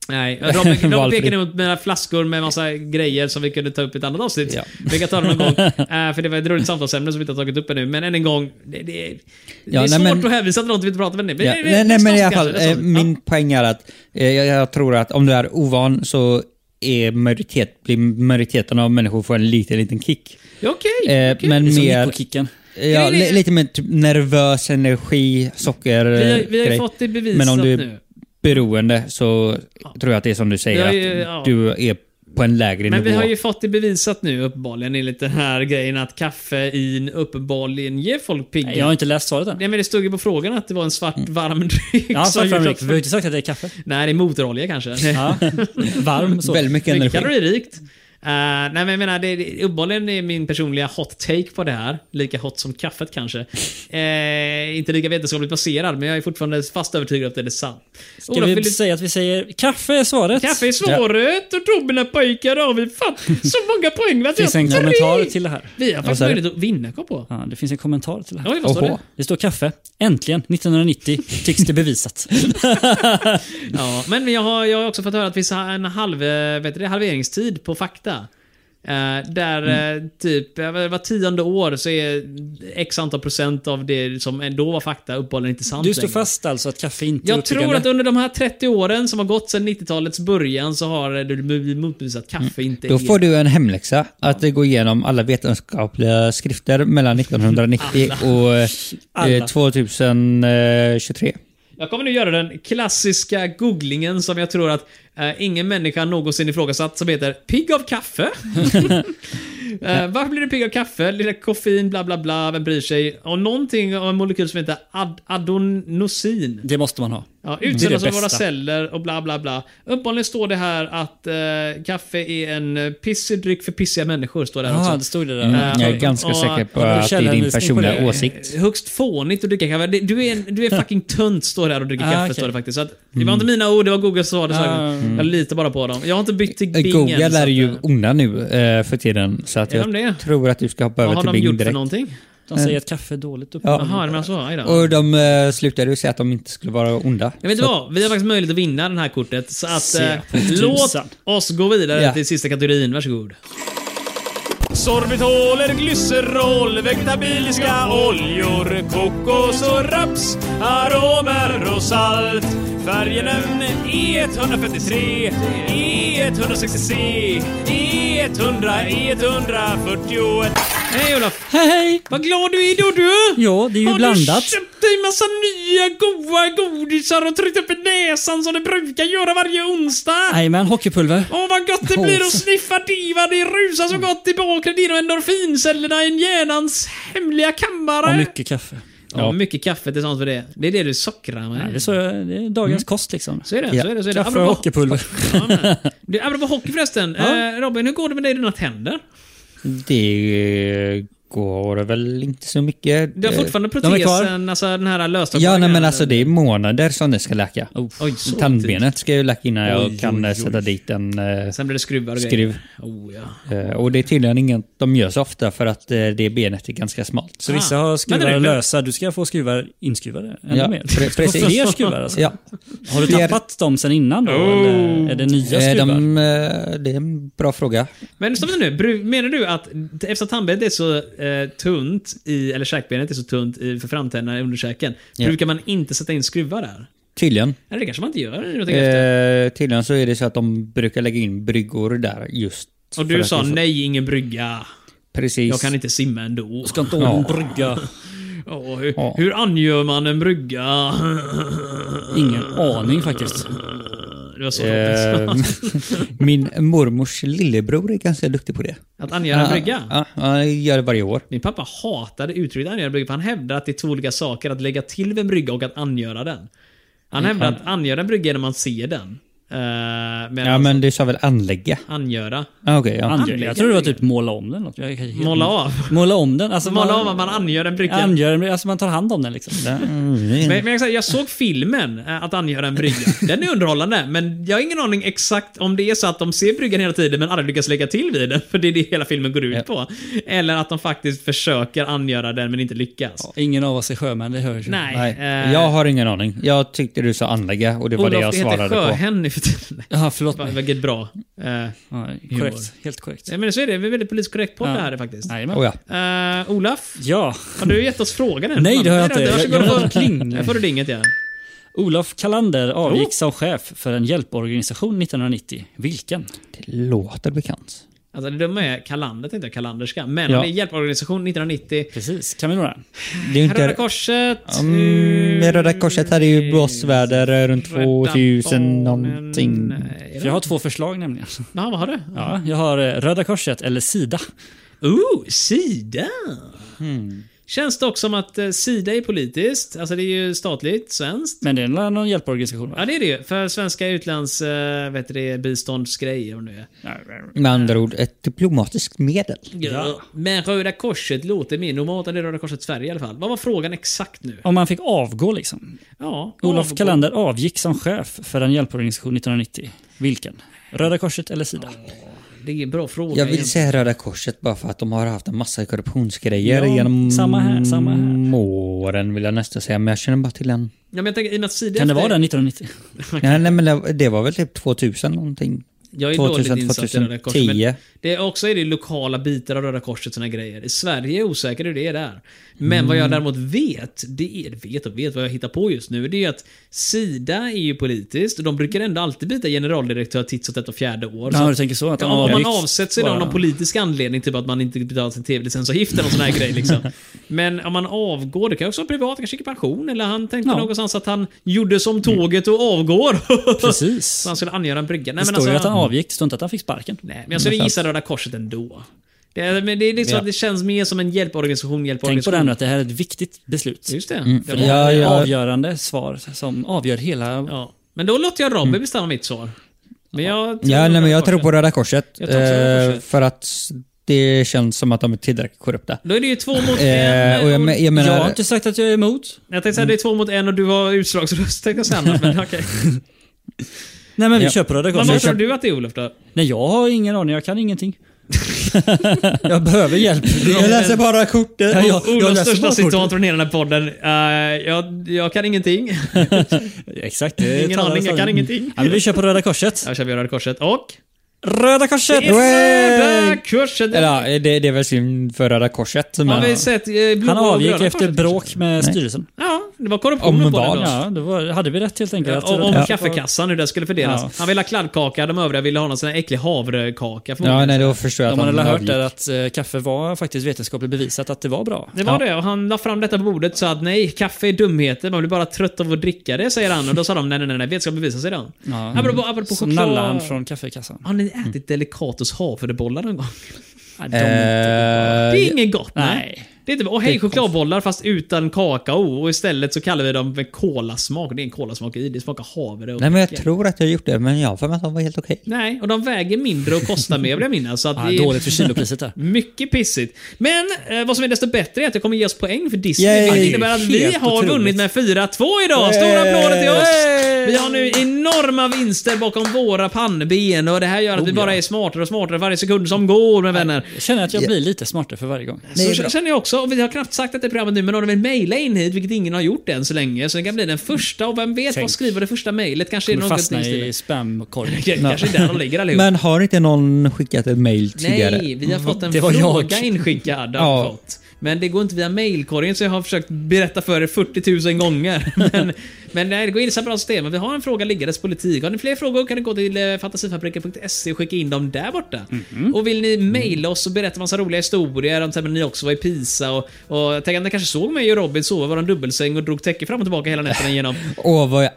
Nej, Robin, Robin
Valfri.
pekade mot mina flaskor med massa grejer som vi kunde ta upp i ett annat avsnitt.
Ja.
Vi kan ta det någon gång. Eh, för det var ett roligt samtalsämne som vi inte har tagit upp ännu. Men än en gång, det, det, är- det är
nej,
svårt
men-
att hänvisa till något vi inte pratat om ännu.
Ja.
det- det-
Nej, nej,
nästa
men i alla
avsnitt
fall,
kanske,
eh,
nästa avsnitt.
min poäng är att eh, jag, jag tror att om du är ovan så är majoritet, blir majoriteten av människor får en liten, liten kick.
Ja, Okej.
Eh, men
Det är som
mer...
Nikokicken.
Ja, li, lite mer typ nervös energi, socker...
vi har,
eh,
vi har ju
grej.
fått det bevisat
Men om du är
nu.
beroende så tror jag att det är som du säger,
Jag
att
är ju- ja.
du är på en lägre
Men vi
nivå.
har ju fått det bevisat nu uppenbarligen enligt den här grejen att kaffein uppenbarligen ger folk pigga.
Jag har inte läst svaret än.
Nej men det stod ju på frågan att det var en
Mm.
svart varm dryck.
Ja,
som
svart
gjorde
framdryck.
att-
Vi har ju inte sagt att det är kaffe.
Nej, det är motorolja kanske.
Ja. Varm så.
Väldigt mycket
Mycket
energi.
kaloririkt. Eh, nej men jag menar, det- det, uppenbarligen är min personliga hot take på det här. Lika hot som kaffet kanske. Eh, inte lika vetenskapligt baserad, men jag är fortfarande fast övertygad om att det är sant.
Ska
Olof, vill
vi
du-
säga att vi säger kaffe är svaret?
Kaffe är svårrökt och Robin har pojkar och vi fan så många poäng. Vi har
Det finns en
tre.
kommentar till det här.
Vi har faktiskt
sa du?
möjlighet att vinna kom på.
Ja, det finns en kommentar till det här.
Oj, vad står
Oho.
det?
Det står kaffe. Äntligen, 1990, tycks det bevisat.
Ja, men jag har, jag har också fått höra att det finns en halv, eh, vet du, det, halveringstid på fakta. Eh, där
Mm.
eh, typ eh, var tionde år så är x antal procent av det som då var fakta uppenbarligen inte sant
Du står
längre.
fast alltså att kaffe inte är
Jag tror
uppiggande?
att under de här 30 åren som har gått sedan 90-talets början så har eh, det blivit motbevisat att kaffe inte
Mm. Då
är...
får du en hemläxa att gå igenom alla vetenskapliga skrifter mellan 1990 och eh,
Alla.
2023.
Jag kommer nu göra den klassiska googlingen som jag tror att eh, ingen människa någonsin ifrågasatt som heter Pigg av kaffe. Eh, varför blir du pigg av kaffe? Lilla koffein, bla bla bla, vem bryr sig? Och någonting av en molekyl som heter ad- adenosin.
Det måste man ha.
Ja,
Mm, Det är
utsöndras
det
av våra
bästa.
celler och bla bla bla. Uppenbarligen står det här att eh, kaffe är en eh, pissig dryck för pissiga människor, står det här
Jaha,
också.
Ah, det stod det där.
Mm,
Ja,
jag är
och-
ganska
Eh, och-
säker på
och- och
att det är din
källhänvisning på
personliga
det.
åsikt.
Eh, Högst fånigt att dricka kaffe. Det- Du är, en, du är fucking tönt står det här och dricker
Ah,
kaffe
okej.
står det faktiskt. Så att, det
Mm.
var inte mina ord, det var Google som sa det. Så
Ah,
Jag litar bara på dem. Jag har inte bytt till Bing än,
Google
så
är
att,
ju
eh,
onda nu eh, för tiden, så att
Är de det?
jag tror att du ska hoppa
Vad
över
har
till
de gjort
Bing
för
direkt.
någonting?
De säger att kaffe är dåligt
Ja.
uppiggande.
Jaha, men alltså, aj då.
Och de eh, slutade ju säga att de inte skulle vara onda.
Jag vet inte vad, vi har faktiskt möjlighet att vinna det här kortet. Så att,
Se
eh,
på tusan.
låt oss gå vidare
Ja.
till sista kategorin, varsågod. Sorbitoler, glycerol, vegetabiliska oljor, kokos och raps, aromer och salt. E Färgenämn E153, E E160C, E E100, E141. Hej Olof!
Hej, hej!
Vad glad du är då du!
Ja, det är ju
Har
blandat.
du köpt dig massa nya goa godisar och tryckt upp i näsan som du brukar göra varje onsdag?
Jajamän, hockeypulver.
Åh vad gott det blir att sniffa diva, det rusar så gott i bakre din och endorfincellerna i hjärnans hemliga kammare.
Och mycket kaffe.
ja, mycket kaffe tillsammans med det. Det är det du sockrar med.
Ja, Det är, så, det är dagens kost liksom.
Så är det, så är det, så är det.
Kaffe och
Apropå-
hockeypulver.
Ja, men. Du, apropå hockey förresten. Eh, Robin, hur går det med dig och dina tänder?
Det eh, går väl inte så mycket.
Du har
Eh,
fortfarande
de är kvar.
protesen, alltså den här löstagen.
Ja, nej, men alltså det är månader som det ska läka.
Oj, så tidigt.
Tandbenet ska ju läka innan
Oj,
jag kan
oj,
eh,
oj.
sätta dit en eh,
Sen blir det skruvar och grejer.
skruv.
Oh, ja.
Eh, Och det är tydligen inget de gör så ofta för att eh, det benet är ganska smalt.
Så vissa har
Men det
skruvar
är bra.
lösa. Du ska få skruvar inskruvade. Ännu
Ja,
mer.
pre-
Du ska få
precis.
Fler skruvar alltså. Oh.
Ja.
Har du
Fler-
tappat dem sen innan då? Eller är det nya
Eh,
skruvar?
De, eh, det är en bra fråga.
Men stopp nu, Bru- menar du att eftersom tandbenet är så eh, tunt, i, eller käkbenet är så tunt i, för framtänderna i underkäken,
Ja.
brukar man inte sätta in skruvar där?
Tydligen.
Eller det kanske man inte gör nu jag tänker efter.
Eh, tydligen så är det så att de brukar lägga in bryggor där just.
Och
för
du
att
sa
det är så-
nej, ingen brygga.
Precis.
Jag kan inte simma ändå.
Ska inte ha en brygga.
Åh, hur,
Ja.
hur angör man en brygga?
Ingen aning faktiskt.
Det var så tråkigt.
Eh, Min mormors lillebror är ganska duktig på det.
Att angöra en brygga?
Ja, ja, han gör det varje år.
Min pappa hatade uttrycket angöra en brygga, för han hävdade att det är två olika saker, att lägga till vid en brygga och att angöra den. Han
Mm.
hävdar att angöra en brygga är när man ser den. Eh, men,
Ja, men du sa väl anlägga?
angöra?
Ah, Okej, ja.
Angö- jag tror det var typ måla om den. eller något. Jag- jag-
Måla
Mm.
av?
Måla om den. Alltså
Måla av att man angör en brygga.
Angör den, alltså man tar hand om den liksom.
Mm.
Men, men jag, kan säga, jag såg filmen, eh, att angöra en brygga. Den är underhållande, men jag har ingen aning exakt om det är så att de ser bryggan hela tiden men aldrig lyckas lägga till vid den, för det är det hela filmen går ut på. Eller att de faktiskt försöker angöra den men inte lyckas.
Ingen av oss är sjömän, det hörs ju.
Nej.
Nej,
eh,
jag har ingen aning. Jag tyckte du sa anlägga och det var det jag
Olof, det heter
svarade på.
sjöhen nu för tiden.
Ja, förlåt
Va-
mig.
Vilket bra. Eh,
Ja,
Humor.
korrekt. Helt korrekt.
men så är det, vi är väldigt politiskt korrekt podd
Ja.
det här är faktiskt.
Jajamän.
Oh, ja.
Uh, Olaf,
Ja,
har du gett oss frågan än?
Nej, det har jag inte.
Varsågod,
Jag- jag
då
har
får-
kling.
Där får du dinget ja.
Olof Kalander
Oh.
avgick som chef för en hjälporganisation 1990. Vilken?
Det låter bekant.
Alltså det dumma är Kalander, tänkte jag, Kalanderska. Men
Ja.
det är hjälporganisation 1990.
Precis, kan vi några?
Det är ju
Röda
inte...
Korset.
Mm,
eh,
Röda Korset hade ju blåsväder runt
Rädda Barnen.
2000 någonting.
Nej, är
För jag
det-
har två förslag nämligen.
Ja, vad har du?
Ja, jag har eh, Röda Korset eller Sida.
Ooh, Sida! Hmm. Känns dock som att eh, Sida är politiskt. Alltså det är ju statligt, svenskt.
Men det är väl någon hjälporganisation?
Ja,
Va?
det är det ju. För svenska utlands... Äh, vet du det? Biståndsgrejer och nu är.
Med andra ord, ett diplomatiskt medel.
Ja. Men Röda Korset låter mer normalt än det Röda Korset Sverige i alla fall. Vad var frågan exakt nu?
Om man fick avgå liksom.
Ja.
Olof
avgå.
Kalander avgick som chef för en hjälporganisation 1990. Vilken? Röda Korset eller Sida?
Det är en bra fråga.
Jag vill
egentligen.
säga Röda Korset bara för att de har haft en massa korruptionsgrejer
Ja,
genom
samma här, samma här.
åren vill jag nästan säga, men jag känner bara till en.
Ja, men jag tänker, i och med att Sida
Kan det
efter-
vara den 1990?
Nej, nej, men det- det var väl typ 2000 någonting.
Jag är
2000,
dåligt insatt i Röda Korset. Men
2010.
det är också är det lokala bitar av Röda Korset såna grejer. I Sverige är jag osäker hur det är där. Men vad
Mm.
jag däremot vet, det är, vet och vet vad jag hittar på just nu, det är att Sida är ju politiskt och de brukar ändå alltid byta generaldirektör titt och tätt och fjärde år.
Ja,
Så
du tänker så? Att
Ja,
de
om man
avgicks
avsätts så är det av
bara.
någon politisk anledning, typ att man inte betalar sin tv-licensavgift eller någon sån här grej. Liksom. Men om man avgår, det kan ju också vara privat, kanske gick i pension, eller han tänkte
Ja.
någonstans att han gjorde som tåget och avgår.
Precis.
så han skulle angöra en brygga. Nej,
Det
men
står
alltså,
ju att han avgick, det står inte att han fick sparken.
nej, men jag skulle gissa Röda Korset ändå. Det, är- men det är liksom
Ja.
att det känns mer som en hjälporganisation,
Tänk på det här
hjälporganisation.
nu, att det här är ett viktigt beslut.
Just det. det
För
var,
det
ja.
här är
Ja, ja.
avgörande svar som avgör hela...
Men då låter jag Robin bestämma mitt svar. Men jag tror
Ja, nej, men
Röda
jag tror
Korset.
på Röda Korset.
Jag tror också Röda
eh,
Korset.
För att det känns som att de är tillräckligt korrupta.
Då är det ju två mot en.
Eh, och jag,
och-
men- jag
jag har
menar...
inte sagt att jag är emot.
Jag tänkte säga det är två mot en och du har utslagsröst tänkte jag säga annars, men okej.
Nej men vi
Ja.
köper Röda
Men vad
Korset.
tror du att det är Olof då?
Nej jag har ingen aning, jag kan ingenting. jag behöver hjälp.
Jag läser bara kortet.
Ja, ja. Jag
Olofs
läser
största
bara kortet.
citat från hela den här podden. Eh, jag, jag kan ingenting.
Exakt. det
Ingen
talar
aning, jag
sanning.
kan ingenting.
Ja, men vi köper Röda Korset.
Jag kör vi Röda Korset och...
Röda Korset!
Röda Korset!
Eller ja, det, det är väl synd för Röda Korset. Men,
Har vi sett eh, blå
Han
och
avgick
röda
efter
korset?
bråk med styrelsen.
Ja, det var korruptionen
Om
på den
vad?
då.
Ja, då var, hade vi rätt helt enkelt. att
Om,
Röda
om
Korset var-
kaffekassan, hur den skulle fördelas.
Ja.
Han ville ha kladdkaka, de övriga ville ha någon sån här äcklig havrekaka.
ja,
förmodligen.
nej, då förstår jag
Ja,
att
man
han
hade hört
avgick.
där att eh, kaffe var faktiskt vetenskapligt bevisat att det var bra.
Det var det och han la fram detta på bordet och sa att nej, kaffe är dumheter, man blir bara trött av att dricka det, säger han. Och då sa de nej, nej, nej, nej vetskap bevisar sig då.
Ja.
Apropå, apropå
Så
choklad.
nallade han från kaffekassan.
Har ni ätit Delicatos havrebollar någon gång?
Ja, de-
Det är
Eh,
inget gott. Nej.
Nej.
Det är typ, och hej chokladbollar fast utan kakao och istället så kallar vi dem med kolasmak. Det är en kolasmak i, det smakar havre och
Nej, men jag
äckel.
tror att jag gjort det, men jag har för mig att de var helt okej.
Nej, och de väger mindre och kostar mer vill jag minnas. Så att
Ja,
det är
dåligt för kilopriset där.
Mycket pissigt. Men eh, vad som är desto bättre är att jag kommer ge oss poäng för Disney.
Yay!
vilket innebär att vi
Helt
har
otroligt.
vunnit med 4-2 idag. Stora applåder till oss! Vi har nu enorma vinster bakom våra pannben och det här
Oh,
gör att vi bara är smartare och smartare varje sekund som går, mina vänner.
Jag känner att jag blir lite smartare för varje gång.
Så k- känner jag också. Och vi har knappt sagt att det är programmet nu, men om de vill mejla in hit, vilket ingen har gjort än så länge, så det kan bli den första. Och vem vet vad skriver det första mejlet? Kanske är det
Kommer
något
fastna i spamkorgen.
Kanske där de ligger allihop.
Men har inte någon skickat ett mail tidigare?
Nej, vi har fått en
Det var
fråga
jag.
inskickad.
Ja.
Ja. Fått. Men det går inte via mailkorgen så jag har försökt berätta för er 40 000 gånger. Men, men nej, det går in i samma bra system. Men Vi har en fråga liggandes politik. Har ni fler frågor kan ni gå till eh, fantasifabriken.se E och skicka in dem där borta. Och vill ni mejla oss och berätta massa roliga historier om till exempel när ni också var i Pisa och, och tänk att ni kanske såg mig och Robin sova i våran dubbelsäng och drog täcke fram och tillbaka hela nätterna igenom.
Åh, vad jag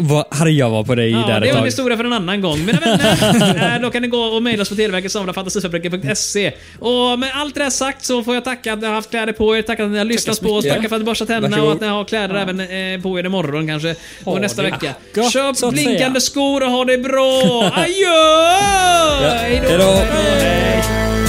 vad arg jag var på dig
Ja,
där
det
ett
är en
tag.
historia för en annan gång. Mina vänner, eh, då kan ni gå och mejla oss på televerket samlafantasifabrik.se. Och med allt det här sagt så får jag tacka att ni har haft kläder på er, tacka att ni har lyssnat på oss, tacka för att ni borstat tänderna och
Varsågod.
att ni har kläder även eh, på er imorgon kanske. Och nästa vecka.
gott, så
Köp
att säga.
blinkande skor och ha det bra! Adjö!
Hej då.
Hej.